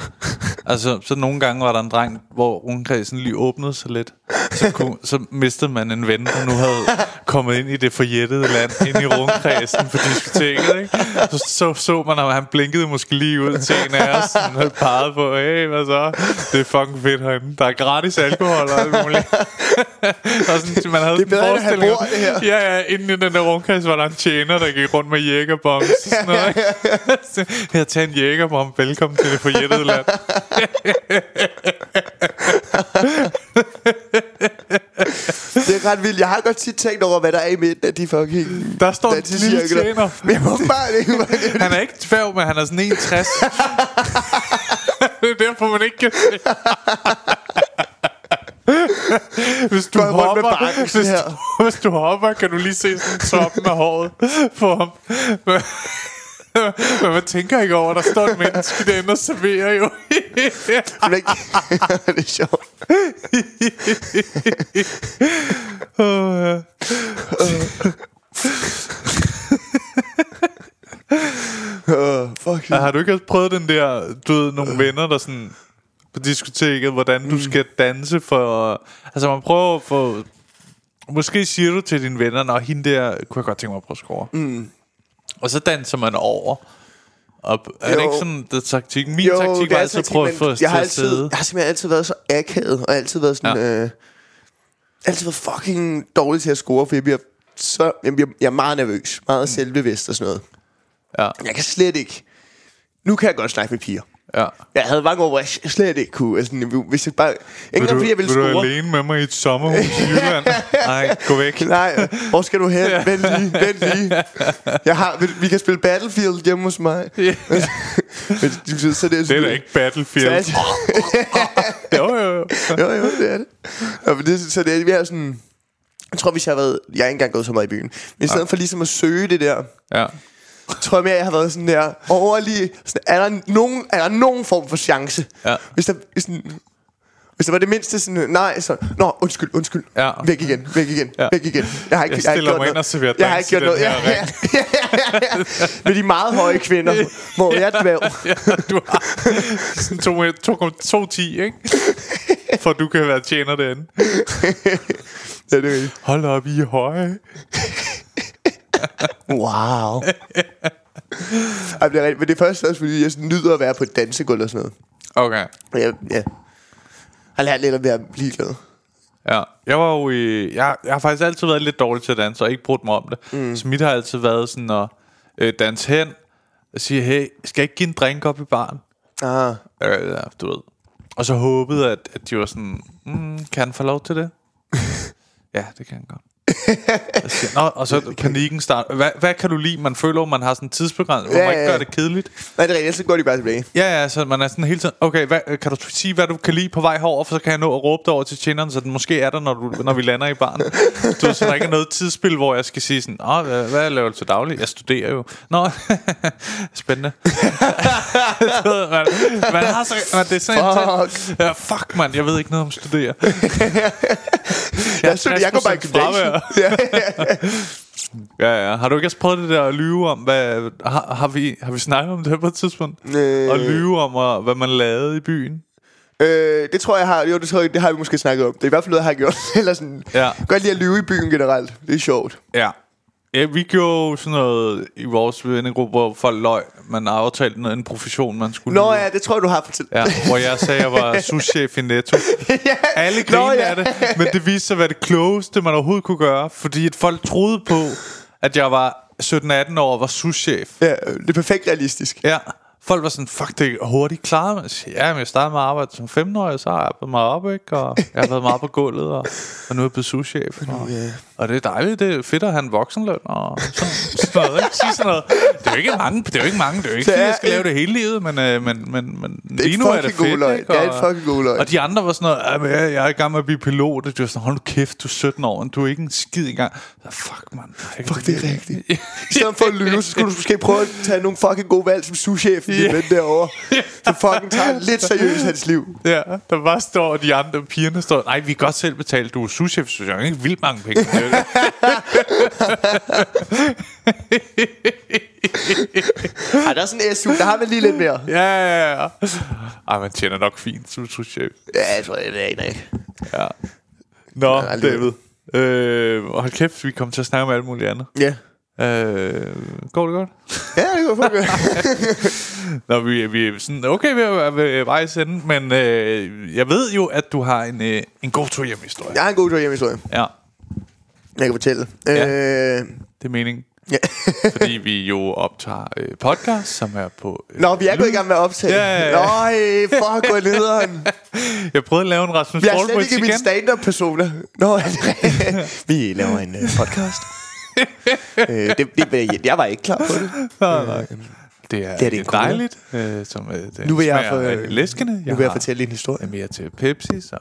Altså, så nogle gange var der en dreng Hvor rundkredsen lige åbnede sig lidt så, kunne, så mistede man en ven, der nu havde kommet ind i det forjættede land, ind i rumkredsen på diskoteket. Ikke? Så, så så man, at han blinkede måske lige ud til en af os, og havde peget på, hey, hvad så? Det er fucking fedt herinde. Der er gratis alkohol og alt muligt. og sådan, man havde Det er bedre, end at have forestilling om- bord, det her. Ja, ja, inden i den der rumkasse var der en tjener, der gik rundt med jægerbombe. Sådan noget, ikke? Så, Her, tag en jægerbombe. Velkommen til det forjættede land. Det er ret vildt. Jeg har godt tit tænkt over, hvad der er i midten af de fucking... Der står en dansecirkler. lille tjener. Men jeg må bare ikke... hvad det er. Han er ikke tværv, men han er sådan 61. det er derfor, man ikke kan se. hvis, du Går rundt med hopper, bakken hvis, sådan her. du, hvis du hopper, kan du lige se sådan toppen af håret på ham. Men, men man tænker ikke over, at der står et menneske derinde og serverer jo. Det er ikke- det er sjovt. Åh, ja. Åh, fuck. har du ikke også prøvet den der, du ved, nogle venner, der sådan på diskoteket, hvordan Mm. du skal danse for... Altså, man prøver at få... Måske siger du til dine venner, når hende der kunne jeg godt tænke mig at prøve at score. over. Mm. Og så danser man over. Og er det Jo. ikke sådan, det er taktik? Min Jo, taktik det var er altid at taktik, prøve at men få os til jeg har at altid, sidde. Jeg har simpelthen altid været så akavet, og altid været sådan... Ja. Ja. Øh, altid været fucking dårlig til at score, for jeg bliver så, jeg, bliver, jeg er meget nervøs, Mm. meget selvbevidst og sådan noget. Ja. Jeg kan slet ikke... Nu kan jeg godt snakke med piger. Ja. Jeg havde mange år, hvor jeg slet ikke kunne. Altså, hvis jeg bare... Ikke engang fordi jeg ville vil du score. alene med mig i et sommerhus i Jylland? Nej, gå væk. Nej, hvor skal du hen? Vent lige, vent lige. Jeg har, vi, vi kan spille Battlefield hjemme hos mig. Ja. Men så, så det, Det er er sådan- da ikke Battlefield. Så er Jo, jo, jo. det- jo, jo, det er det. Og men det så det er, vi er sådan... Jeg tror, hvis jeg har været... Jeg er ikke engang gået så meget i byen. Men i stedet for ligesom at søge det der... Ja. Tror jeg mere, jeg har været sådan der... Over lige... Sådan, er, der nogen, er der nogen form for chance? Ja. Hvis der... Sådan, hvis der var det mindste sådan, nej, så, nå, undskyld, undskyld, Ja. væk igen, væk igen, Ja. ja. væk igen. Jeg Jeg har ikke, har ikke stiller gjort mig ind noget. og serverer Jeg har drinks ikke gjort i den noget. Ja, her ja, ja, ja. Med de meget høje kvinder, hvor jeg er dværg. Ja, du har sådan to- to- to ti, ikke? For du kan være tjener derinde. Ja, det er rigtigt. Hold op, I er høje. Wow. Ej, men det er rigtigt. Men det er først også, fordi jeg sådan nyder at være på et dansegulv og sådan noget. Okay. Og Jeg, ja. Jeg har lært lidt at være ligeglad. Ja. Jeg var jo i, jeg, jeg har faktisk altid været lidt dårlig til at danse, og ikke brugt mig om det. Mm. Så mit har altid været sådan at øh, danse hen, og sige, hey, skal jeg ikke give en drink op i baren? Ah, Øh, ja, du ved. Og så håbede, at, at de var sådan, mm, kan han få lov til det? ja, det kan han godt. Og så siger- Nå, og så panikken starter. Hvad, hvad kan du lide? Man føler, at man har sådan en tidsbegrænsning, hvor Ja, man ikke ja, gør ja. det kedeligt. nej, det er rigtigt. Så går de bare tilbage. Ja, ja, så man er sådan hele tiden, okay, hvad, kan du sige, hvad du kan lide på vej herover, for så kan jeg nå at råbe dig over til tjeneren, så den måske er der, når, du, når vi lander i barn. Du, ved, så der ikke er noget tidsspil, hvor jeg skal sige sådan, Åh, hvad, hvad laver du til daglig? Jeg studerer jo. Nå, spændende. Du ved, man, man, har så, man, det er sådan fuck. Ja, fuck, mand, jeg ved ikke noget om studere. Jeg, synes, jeg går bare i 60% gymnasiet. fravær. Ja, ja, ja. Ja, ja. Har du ikke også prøvet det der at lyve om, hvad, har, har, vi, har vi snakket om det her på et tidspunkt? Øh. At lyve om, og, hvad man lavede i byen? Øh, det tror jeg har, jo, det, tror jeg, det har vi måske snakket om. Det er i hvert fald noget, jeg har gjort. Eller sådan, Ja. Godt lide at lyve i byen generelt. Det er sjovt. Ja. Ja, vi gjorde jo sådan noget i vores vennegruppe, hvor folk løg. Man aftalte noget, en profession, man skulle Nå lyve. ja, det tror jeg, du har fortalt. Mm. Ja, hvor jeg sagde, at jeg var souschef i Netto. Ja. Alle Nå, grinede ja. af det, men det viste sig at være det klogeste, man overhovedet kunne gøre. Fordi at folk troede på, at jeg var 17-18 år og var souschef. ja, øh, det er perfekt realistisk. Ja. Folk var sådan, fuck, det er hurtigt klaret. Jeg siger, ja, men jeg startede med at arbejde som 15-årig, så har jeg arbejdet mig op, ikke? Og jeg har været meget på gulvet, og, og nu er jeg blevet souschef. Og, øh, og, det er dejligt, det er fedt at have en voksenløn, og sådan, sådan noget, ikke? Sige sådan noget. Det er jo ikke mange, det er jo ikke mange, det er jo ikke, Det fordi er jeg skal lave en- det hele livet, men, øh, men, men, men er et lige nu er det fucking god fedt, løgn. ikke? Det er Og- et fucking god løgn. Og de andre var sådan noget, "Ja, men jeg, jeg er i gang med at blive pilot, og de var sådan, hold nu kæft, du er 17 år, og du er ikke en skid engang. Så, Fuck, man. Fuck, det er rigtigt. I stedet for at lyve, så skulle du måske prøve at tage nogle fucking gode valg som souschefen yeah. Ja. ven derovre. Du fucking tager lidt seriøst hans liv. Ja, der bare står, og de andre pigerne står, nej, vi kan godt selv betale, du er souschef, synes jeg, ikke vildt mange penge. Det er jo det. Ej, der er sådan en SU, der har man lige lidt mere. ja, ja, ja. Ej, man tjener nok fint som souschef. Ja, jeg tror, jeg ved ikke. Ja. Nå, Nej, aldrig. David. Øh, hold kæft, vi kom til at snakke om alt muligt andet. Ja. Øh, går det godt? Ja, det kunne jeg fucking Nå, vi, vi er sådan okay ved at være ved vejs ende, men øh, jeg ved jo, at du har en, øh, en god tur hjem historie. Jeg har en god tur hjemme, historie. ja, Jeg kan fortælle. Ja. Ja. Øh, det er meningen. ja. Fordi vi jo optager øh, podcast, som er på... Øh, Nå, vi er gået i gang med at optage. Ja, ja, ja. Nøj, fuck, hvor nederen. Jeg prøvede at lave en Rasmus Jeg er slet Dahlbøjs ikke i min igen. stand-up-persona. Nå, er det rigtigt? vi laver en uh, podcast. øh, det, det, jeg var ikke klar på det. Det er, Det er det det er cool. dejligt, øh, som øh, det Nu vil jeg, smager for, rigtig læskende. nu vil jeg har fortælle en historie. mere til Pepsi, så...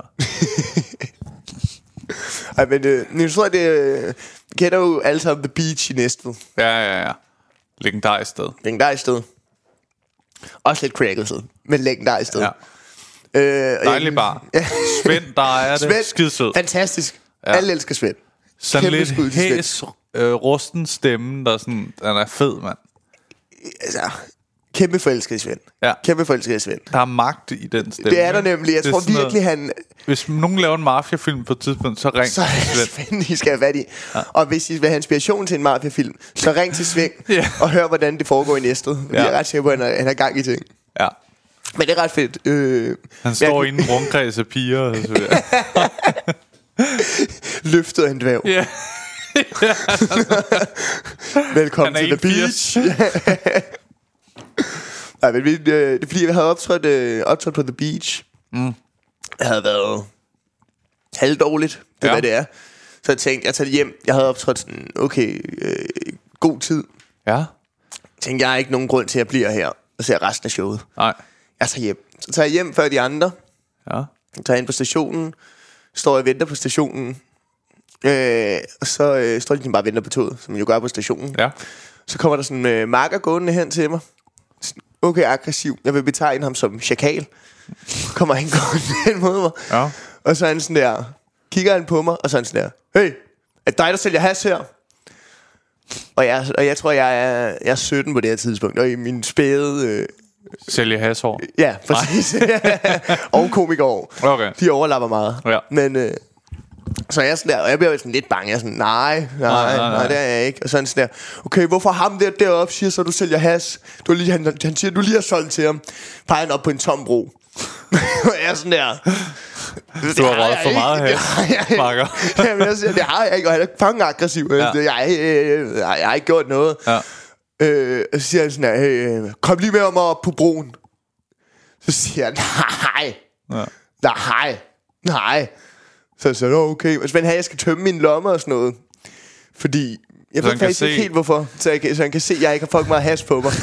Ej, men øh, nu tror jeg, det øh, kender jo alle sammen The Beach i Næstved. Ja, ja, ja. Legendarisk sted. Legendarisk sted. Også lidt cracket sted, men legendarisk sted. Ja. Ja. Øh, og Dejlig jeg- bar. Svend, der er det. Svend, Skide sød. Fantastisk. Ja. Alle elsker Svend. Sådan Kæmpe lidt skud til Svend. hæs, øh, rusten stemme, der sådan... Den er fed, mand. Altså, kæmpe forelsket i Svend. Ja. Kæmpe forelsket i Svend. Der er magt i den stemme. Det er der ikke? nemlig. Jeg Det er tror sådan noget- virkelig, han... Hvis nogen laver en mafiafilm på et tidspunkt, så ring Så til er det Svend. Svend, I skal have fat i. Ja. Og hvis I vil have inspiration til en mafiafilm, så ring til Svend Ja. og hør, hvordan det foregår i næstet. Vi Ja. er ret sikker på, at han har- han har gang i ting. Ja. Men det er ret fedt. Øh, Han står jeg- i en rundkreds af piger og så videre. Løftet af en dværg. Ja. Velkommen Han er til The Beach. Nej, men vi, øh, det er fordi, jeg havde optrådt, øh, optrådt på The Beach. Mm. Jeg havde været halvdårligt, Ja. det er, ja. hvad det er. Så jeg tænkte, jeg tager det hjem. Jeg havde optrådt sådan, okay, øh, god tid. ja. Tænkte, jeg har ikke nogen grund til, at jeg bliver her og ser resten af showet. Nej. Jeg tager hjem. Så tager jeg hjem før de andre. Ja. Jeg tager ind på stationen. Står og venter på stationen. Øh, og så øh, står de bare og venter på toget, som man jo gør på stationen. Ja. Så kommer der sådan en øh, marker gående hen til mig. Sådan, Okay, aggressiv. Jeg vil betegne ham som chakal. Kommer han gående hen mod mig. Ja. Og så er han sådan der, kigger han på mig, og så er han sådan der, hey, er det dig, der sælger has her? Og jeg, og jeg tror, jeg er, jeg er 17 på det her tidspunkt, og i min spæde... Øh, Sælge hashår. ja, præcis. og komikerår. Okay. De overlapper meget. Ja. Men, øh, så er jeg sådan der, og jeg bliver sådan lidt bange. Jeg er sådan, nej, nej, nej, nej, nej, nej. nej det er jeg ikke. Og så er han sådan der, okay, hvorfor ham der deroppe siger så, at du sælger has? Du har lige, han, han siger, du lige har solgt til ham. Peger han op på en tom bro. og jeg er sådan der... "Det Du har jeg røget for ikke. meget Det has, har jeg ikke." Bakker. Jamen, jeg siger, det har jeg ikke, og han er fucking aggressiv. Ja. Jeg, jeg, øh, jeg, jeg har ikke gjort noget. Ja. Øh, og så siger han sådan her, hey, øh, kom lige med mig op på broen. Så siger han, nej, Ja. nej, nej. Så siger han, "Nå, okay, men Svend, hey, jeg skal tømme mine lommer og sådan noget. Fordi, jeg Så ved han kan faktisk ikke se- helt hvorfor, så, jeg, kan- så han kan se, at jeg ikke har fucking meget has på mig.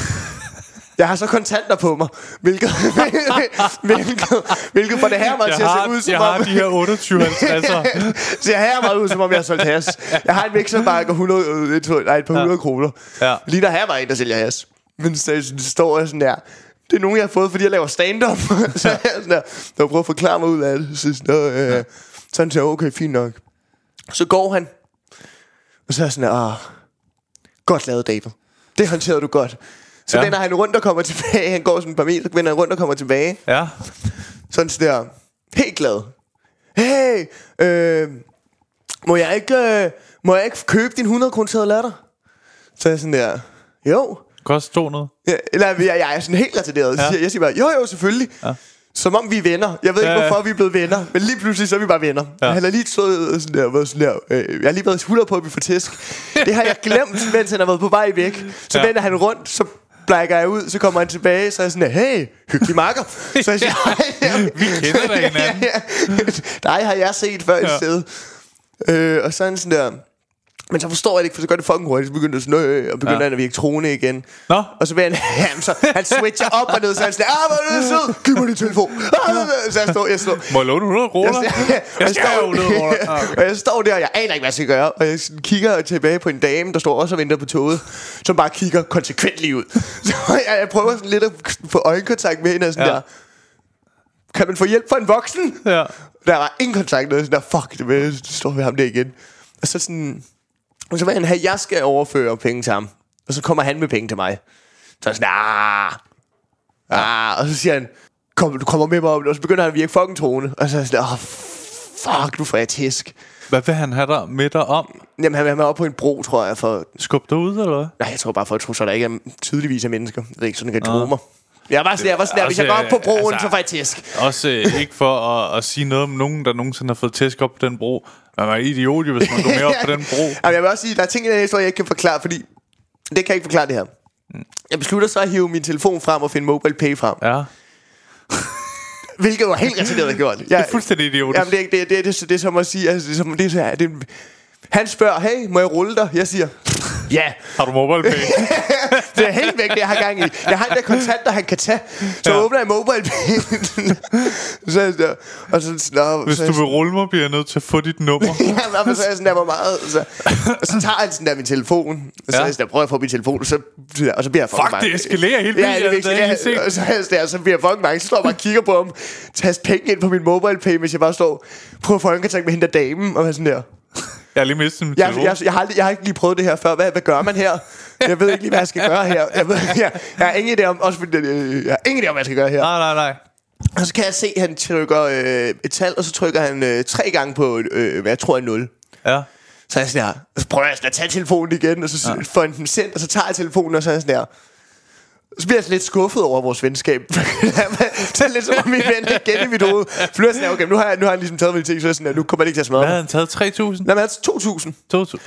Jeg har så kontanter på mig, hvilket, hvilket, hvilket for det her mig Jeg til at har, se ud som jeg om... har de her 28 50'er. Så jeg her meget ud, som om jeg har solgt has. Jeg har en mixerbakke og 100, øh, et, to- nej, et par 100 kroner. Ja. Lige der her var en, der sælger has. Men så det står jeg sådan der, det er nogen, jeg har fået, fordi jeg laver stand-up. så er jeg sådan der, der prøver at forklare mig ud af det. Så, sådan, "Nå, øh, så han siger, okay, fint nok. Så går han. Og så er jeg sådan der, ah, godt lavet, David. Det håndterede du godt. Så Ja. ja. vender han rundt og kommer tilbage. Han går sådan et par meter, så vender han rundt og kommer tilbage. Ja. Sådan sådan der Helt glad Hey øh, Må jeg ikke øh, Må jeg ikke købe din 100 kroner til latter Så er jeg sådan der Jo Kost 200. Ja, Eller jeg, jeg er sådan helt retarderet Ja. ja. Jeg siger bare Jo jo selvfølgelig ja. Som om vi er venner Jeg ved Ja, ikke ja. hvorfor vi er blevet venner Men lige pludselig så er vi bare venner ja. Han har lige stået og sådan der, og været sådan der øh, Jeg har lige været 100 på at vi får tæsk Det har jeg glemt Mens han har været på vej væk Så Ja. ja. vender han rundt Så blækker jeg ud Så kommer han tilbage Så er jeg sådan der Hey hyggelig makker Så jeg siger "Hej." Vi kender da hinanden. ja. Dig har jeg set før ja. Ja. et sted. Øh, og så er han sådan der... Men så forstår jeg det ikke, for så gør det fucking hurtigt. Så begynder det sådan, øh, og begynder Ja. ja. han at virke troende igen. Nå. Og så vil han, jamen, så han switcher op og ned, så er han sådan, ah, hvor er du sød, giv mig din telefon. Ah, så jeg står, jeg står, Må jeg låne 100 kroner? jeg, Jeg jeg, skal have 100 kroner. står, og jeg står der, og jeg aner ikke, hvad jeg skal gøre. Og jeg sådan kigger tilbage på en dame, der står også og venter på toget, som bare kigger konsekvent lige ud. Så jeg, jeg prøver sådan lidt at få øjenkontakt med hende og sådan Ja. ja. der. Kan man få hjælp fra en voksen? Ja. Der var ingen kontakt, og jeg sådan der, fuck, det med, så står vi ham der igen. Og så sådan, og så vil han have, at jeg skal overføre penge til ham. Og så kommer han med penge til mig. Så er jeg sådan, ah, ah, og så siger han, Kom, du kommer med mig om det, og så begynder han at virke fucking troende. Og så er jeg sådan, ah, fuck, nu får jeg tæsk. Hvad vil han have dig med dig om? Jamen, han vil have mig op på en bro, tror jeg, for... Skub dig ud, eller hvad? Nej, jeg tror bare, folk tror så, der ikke er tydeligvis er mennesker. Det er ikke sådan, at jeg dromer. Jeg var sådan, jeg var sådan, der, hvis jeg går op på broen, Altså- så får jeg tæsk. Også øh, ikke for at, at sige noget om nogen, der nogensinde har fået tæsk op på den bro. Man er idiot, jo, hvis man går med op på den bro. Jamen, jeg vil også sige, der er ting i den her historie, jeg ikke kan forklare, fordi... Det kan jeg ikke forklare det her. Jeg beslutter så at hive min telefon frem og finde mobile pay frem. Ja. Ja. Hvilket var helt retarderet gjort. Jeg, det er fuldstændig idiotisk. Jamen, det er, ikke- det, er- det, er- det, er- det, er som at sige... Altså, det er, som, det er, så- det er, en- han spørger, hey, må jeg rulle dig? Jeg siger, ja. Har du mobile pay? Det er helt væk, det jeg har gang i. Jeg har en der kontanter, han kan tage. Ja. Så ja. åbner jeg mobile så, er jeg sådan, og så, nå, Hvis så, er du jeg vil rulle mig, bliver jeg nødt til at få dit nummer. Ja, men så er jeg sådan der, hvor meget... Så, og så tager han sådan der min telefon. Og så Ja. er jeg sådan der, prøver jeg at få min telefon, så, og så bliver jeg fucking Fuck, bange. det eskalerer helt ja, vildt, altså, det det har jeg eskalerer. set. Og så er jeg sådan der, så bliver jeg fucking bange. Så står jeg bare og kigger på ham, tager penge ind på min mobile pay, mens jeg bare står, prøver at få en kontakt med hende der damen, og er sådan der. Jeg har lige mistet min Jeg, telefon. jeg, jeg, har aldrig, jeg har ikke lige prøvet det her før. Hvad, hvad gør man her? Jeg ved ikke lige, hvad jeg skal gøre her. Jeg, ved, jeg, jeg har ingen idé om, også, fordi, øh, jeg har ingen idé om, hvad jeg skal gøre her. Nej, nej, nej. Og så kan jeg se, at han trykker øh, et tal, og så trykker han øh, tre gange på, øh, hvad jeg tror er 0. Ja. Så er jeg sådan her, og så prøver jeg sådan at tage telefonen igen, og så ja. får han den sendt, og så tager jeg telefonen, og så er jeg sådan her. Så bliver jeg sådan lidt skuffet over vores venskab. så er jeg lidt som om min ven igen i mit hoved. Så bliver jeg sådan her, okay, nu har, jeg, nu har han ligesom taget mine ting, så er jeg sådan her, nu kommer det ikke til at smadre Hvad mig. havde han taget? 3.000? Nej, men altså 2.000. 2.000?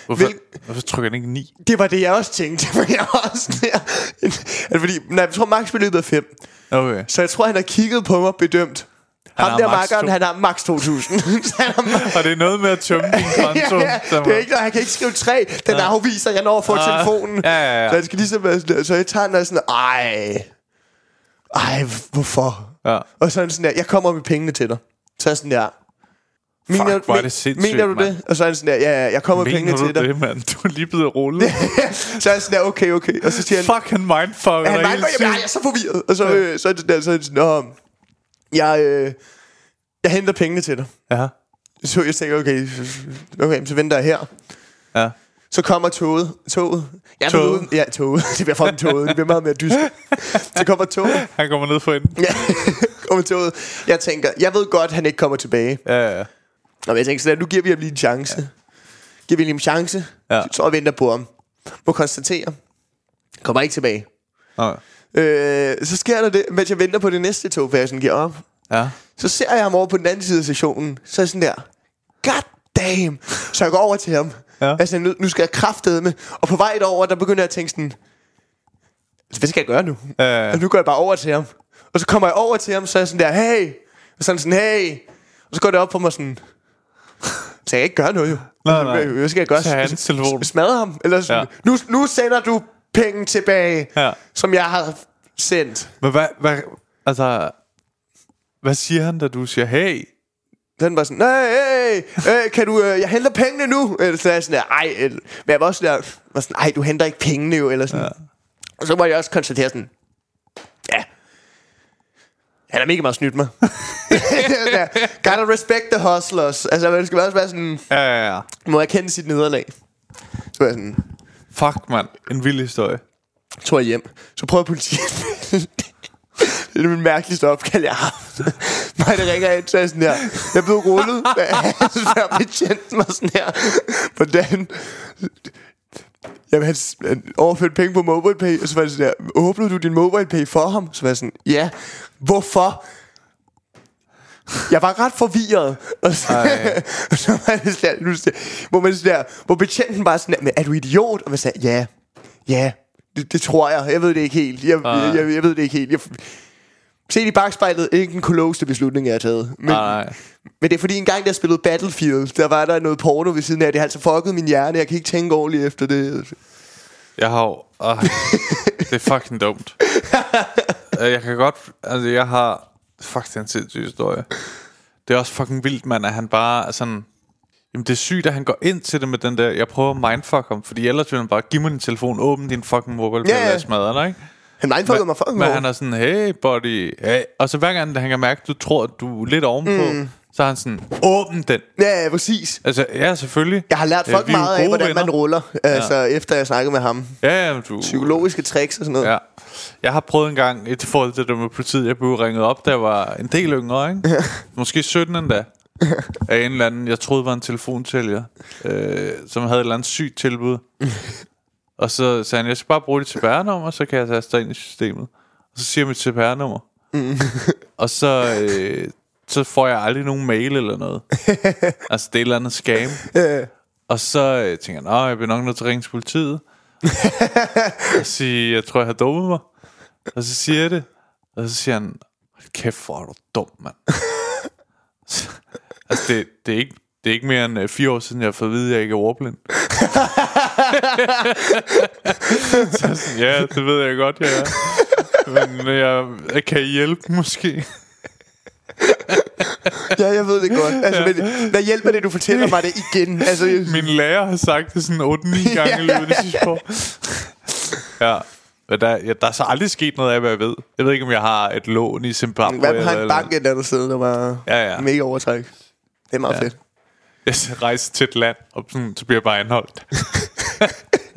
Hvorfor, Hvil- Hvorfor trykker han ikke 9? Det var det, jeg også tænkte. For jeg var også sådan her. Altså, fordi, nej, jeg tror, maksbeløbet er 5. Okay. Så jeg tror, han har kigget på mig og bedømt. Han Han har Ham der maks makkeren, to- han har maks 2.000. Så han har Og det er noget med at tømme din konto. ja, ja, det er ikke, han kan ikke skrive tre. Den ja. afviser, jeg når at få Ah, telefonen. ja, ja, ja. Så jeg skal ligesom, være sådan der- så jeg tager den og er sådan, ej, ej, hvorfor? Ja. Og så er han sådan der, jeg kommer med pengene til dig. Så er jeg sådan der, Fuck, hvor er det sindssygt, mener du det? mand. Og så er han sådan der, ja, ja, jeg kommer med Mener du pengene til dig. det, mand? Du er lige blevet rullet. så er jeg sådan der, okay, okay. Og så siger han, Fuck, han mindfucker han dig var hele ikke, jeg, jeg er tiden. så forvirret. Og så, øh, så er det der, så er det sådan, Nå, jeg, øh, jeg henter pengene til dig. Ja. Så jeg tænker, okay, okay så venter jeg her. Ja. Så kommer toget. Toget. Jeg er Toget. Uden, ja, toget. Det bliver fucking toget. Det bliver meget mere dyst. Så kommer toget. Han kommer ned for enden. Ja, kommer toget. Jeg tænker, jeg ved godt, han ikke kommer tilbage. Ja, ja, ja. Og jeg tænker sådan, at nu giver vi ham lige en chance. Ja. Giver vi lige en chance. Ja. Så jeg venter på ham. Må konstatere. Kommer ikke tilbage. Nå, Øh, så sker der det, mens jeg venter på det næste tog, for jeg sådan giver op. Ja. Så ser jeg ham over på den anden side af stationen. Så er jeg sådan der, god damn. Så jeg går over til ham. Ja. Ja. Altså, nu, nu skal jeg kraftede med. Og på vej derover, der begynder jeg at tænke sådan, "Altså, hvad skal jeg gøre nu? Ja. Og nu går jeg bare over til ham. Og så kommer jeg over til ham, så er jeg sådan der, hey. Og så er han sådan, hey. Og så går det op på mig sådan, så jeg kan ikke gøre noget jo. Nej, nej. Hvad skal jeg gøre? Tag hans telefon. Smadre ham. Eller sådan, Ja. ja. nu, nu sender du penge tilbage, Ja. som jeg har sendt. Men hvad, hvad, altså, hvad siger han, da du siger, hey, Den var sådan, nej, hey, hey, kan du, øh, jeg henter pengene nu. Eller så er jeg sådan der, ej, eller, men jeg var også sådan der, var sådan, ej, du henter ikke pengene jo, eller sådan. Ja. Og så må jeg også konstatere sådan, ja, han har mega meget snydt mig. Ja, Gotta respect the hustlers. Altså, man skal også være sådan, ja, ja, ja. må jeg kende sit nederlag. Så var jeg sådan, Fuck, mand. En vild historie. tog jeg hjem. Så prøvede politiet... det er det mærkeligste opkald, jeg har haft. Mig, der ringer ind, så er jeg sådan her. Jeg blev rullet, da jeg betjente mig sådan her. Hvordan... Jamen, han, s- han overførte penge på MobilePay, og så var det sådan der, åbnede du din MobilePay for ham? Så var jeg sådan, ja, hvorfor? Jeg var ret forvirret. Og så, og så var det sådan der, nu sådan der, hvor, man sådan der, hvor betjenten bare sådan der, men er du idiot? Og man sagde, ja, ja, det, det tror jeg. Jeg ved det ikke helt. Jeg, jeg, jeg, jeg ved det ikke helt. Jeg, set i bagspejlet, ikke den klogeste beslutning, jeg har taget. Men, Nej. men det er fordi, en gang, der spillede Battlefield, der var der noget porno ved siden af. Det har altså fucket min hjerne. Jeg kan ikke tænke ordentligt efter det. Jeg har jo... Øh, det er fucking dumt. Øh, jeg kan godt... Altså, jeg har... Fuck, det er en sindssyg historie. Det er også fucking vildt, mand, at han bare er sådan... Jamen, det er sygt, at han går ind til det med den der... Jeg prøver at mindfuck ham, fordi ellers vil han bare... Giv mig din telefon, åbn din fucking mobile, Ja, yeah. ja. jeg smadrer dig, ikke? Han mindfuckede mig fucking Men hårdt. han er sådan, hey, buddy. Hey. Og så hver gang, han kan mærke, at du tror, at du er lidt ovenpå, mm. så er han sådan, åbn den. Ja, ja, præcis. Altså, ja, selvfølgelig. Jeg har lært Øh, folk vi er jo meget af, gode hvordan venner. man ruller, altså efter jeg snakkede med ham. Ja, ja, du... Psykologiske tricks og sådan noget. Ja. Jeg har prøvet en gang, i forhold til det med politiet, jeg blev ringet op, da jeg var en del yngre, ikke? Måske 17 endda. af en eller anden, jeg troede var en telefonsælger, øh, som havde et eller andet sygt tilbud. og så sagde han, jeg skal bare bruge dit CPR-nummer, så kan jeg taste dig ind i systemet. Og så siger jeg mit CPR-nummer. og så, øh, så får jeg aldrig nogen mail eller noget. altså, det er et eller andet scam. og så øh, tænker jeg, nej, jeg bliver nok nødt til at ringe til politiet. og sige, jeg tror, jeg har dummet mig. Og så siger jeg det. Og så siger han, "Hold kæft, hvor er du dum, mand. Altså, det, det, er ikke, det er ikke mere end øh, fire år siden, jeg har fået at vide, at jeg ikke er ordblind. så er jeg sådan, ja, det ved jeg godt, jeg er. Men øh, jeg, jeg kan I hjælpe måske. Ja, jeg ved det godt. Altså, men, hvad hjælper det, du fortæller mig det igen? Altså, jeg, Min lærer har sagt det sådan 8-9 gange i løbet af det sidste år. ja. Men der, ja, der er så aldrig sket noget af, hvad jeg ved. Jeg ved ikke, om jeg har et lån i Zimbabwe. hvad med eller- har en eller- bank et eller andet sted, der var Ja, ja. mega overtræk? Det er meget Ja. fedt. Jeg skal rejse til et land, og sådan, så bliver jeg bare anholdt.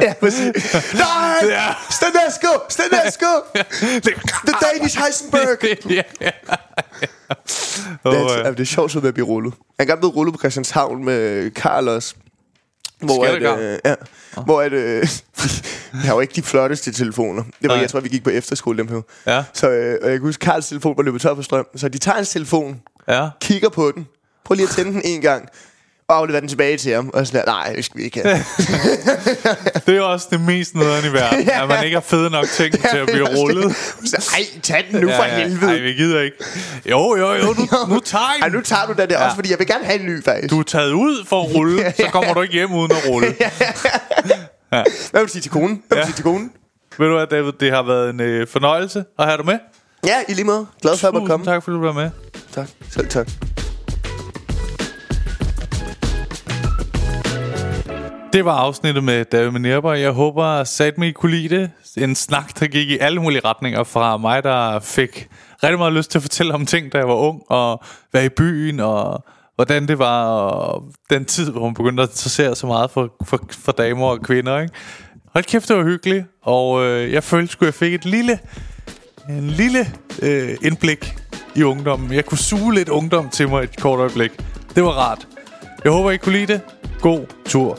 Ja, præcis. Nej! Ja. Stanesco! Stanesco! The Danish Heisenberg! ja, ja. Åh, Det er, ja. altså, det er sjovt så med at blive rullet. Han kan blive rullet på Christianshavn med Carlos. Hvor Skattekarl? at, øh, ja, hvor at, øh, jeg har jo ikke de flotteste telefoner. Det var, Nej. jeg tror, vi gik på efterskole dem her. Ja. Så øh, og jeg kan huske, Karls telefon var løbet tør for strøm. Så de tager hans telefon, Ja. kigger på den, prøver lige at tænde den en gang, og afleverer den tilbage til ham. Og sådan der, nej, det skal vi ikke have. Det er jo også det mest nederen i verden, ja. Ja. at man ikke har fede nok ting til at blive rullet. Så, Ej, tag den nu for helvede. Ej, vi gider ikke. Jo, jo, jo, nu, nu tager jeg Ej, den. nu tager du den der Ja. også, fordi jeg vil gerne have en ny, faktisk. Du er taget ud for at rulle, så kommer du ikke hjem uden at rulle. Hvad vil du sige til konen? Hvad vil du Ja. sige til konen? Ved du hvad, David, det har været en øh, fornøjelse at have dig med. Ja, i lige måde. Glad for at måtte komme. tak fordi du var med. tak. Selv tak. Det var afsnittet med David Minerva. Jeg håber, sat mig I kunne lide det. En snak, der gik i alle mulige retninger fra mig, der fik rigtig meget lyst til at fortælle om ting, da jeg var ung, og være i byen, og hvordan det var, og den tid, hvor man begyndte at interessere sig meget for, for, for damer og kvinder. Ikke? Hold kæft, det var hyggeligt, og øh, jeg følte, sgu, jeg fik et lille, en lille øh, indblik i ungdommen. Jeg kunne suge lidt ungdom til mig et kort øjeblik. Det var rart. Jeg håber, I kunne lide det. God tur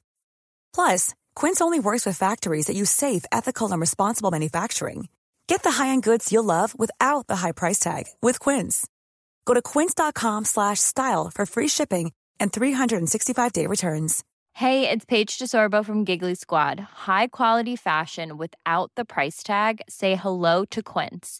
Plus, Quince only works with factories that use safe, ethical, and responsible manufacturing. Get the high-end goods you'll love without the high price tag with Quince. Go to quince.com slash style for free shipping and 365-day returns. Hey, it's Paige DeSorbo from Giggly Squad. High quality fashion without the price tag. Say hello to Quince.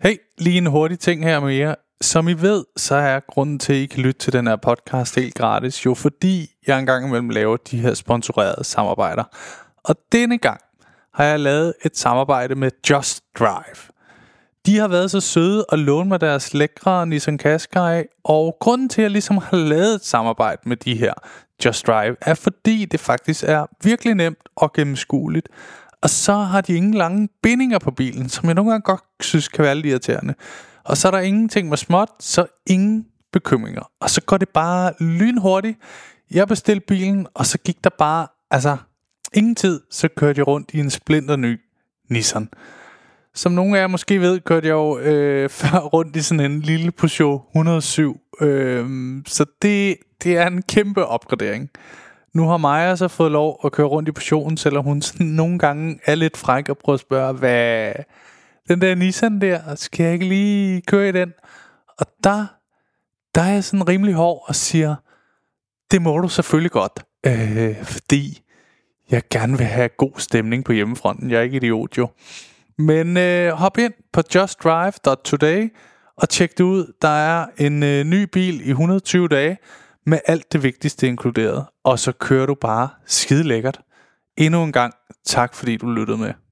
Hey, lige en hurtig ting her med jer. Som I ved, så er grunden til, at I kan lytte til den her podcast helt gratis, jo fordi jeg engang imellem laver de her sponsorerede samarbejder. Og denne gang har jeg lavet et samarbejde med Just Drive. De har været så søde at låne mig deres lækre Nissan Qashqai, og grunden til, at jeg ligesom har lavet et samarbejde med de her Just Drive, er fordi det faktisk er virkelig nemt og gennemskueligt. Og så har de ingen lange bindinger på bilen, som jeg nogle gange godt synes kan være lidt irriterende. Og så er der ingenting med småt, så ingen bekymringer. Og så går det bare lynhurtigt. Jeg bestilte bilen, og så gik der bare, altså ingen tid, så kørte jeg rundt i en splinter ny Nissan. Som nogle af jer måske ved, kørte jeg jo øh, før rundt i sådan en lille Peugeot 107. Øh, så det, det er en kæmpe opgradering. Nu har Maja så fået lov at køre rundt i Peugeoten, selvom hun sådan nogle gange er lidt fræk og prøver at spørge, hvad den der Nissan der, skal jeg ikke lige køre i den? Og der der er jeg sådan rimelig hård og siger, det må du selvfølgelig godt, øh, fordi jeg gerne vil have god stemning på hjemmefronten. Jeg er ikke idiot jo. Men øh, hop ind på justdrive.today og tjek det ud. Der er en øh, ny bil i 120 dage med alt det vigtigste inkluderet. Og så kører du bare skide lækkert. Endnu en gang, tak fordi du lyttede med.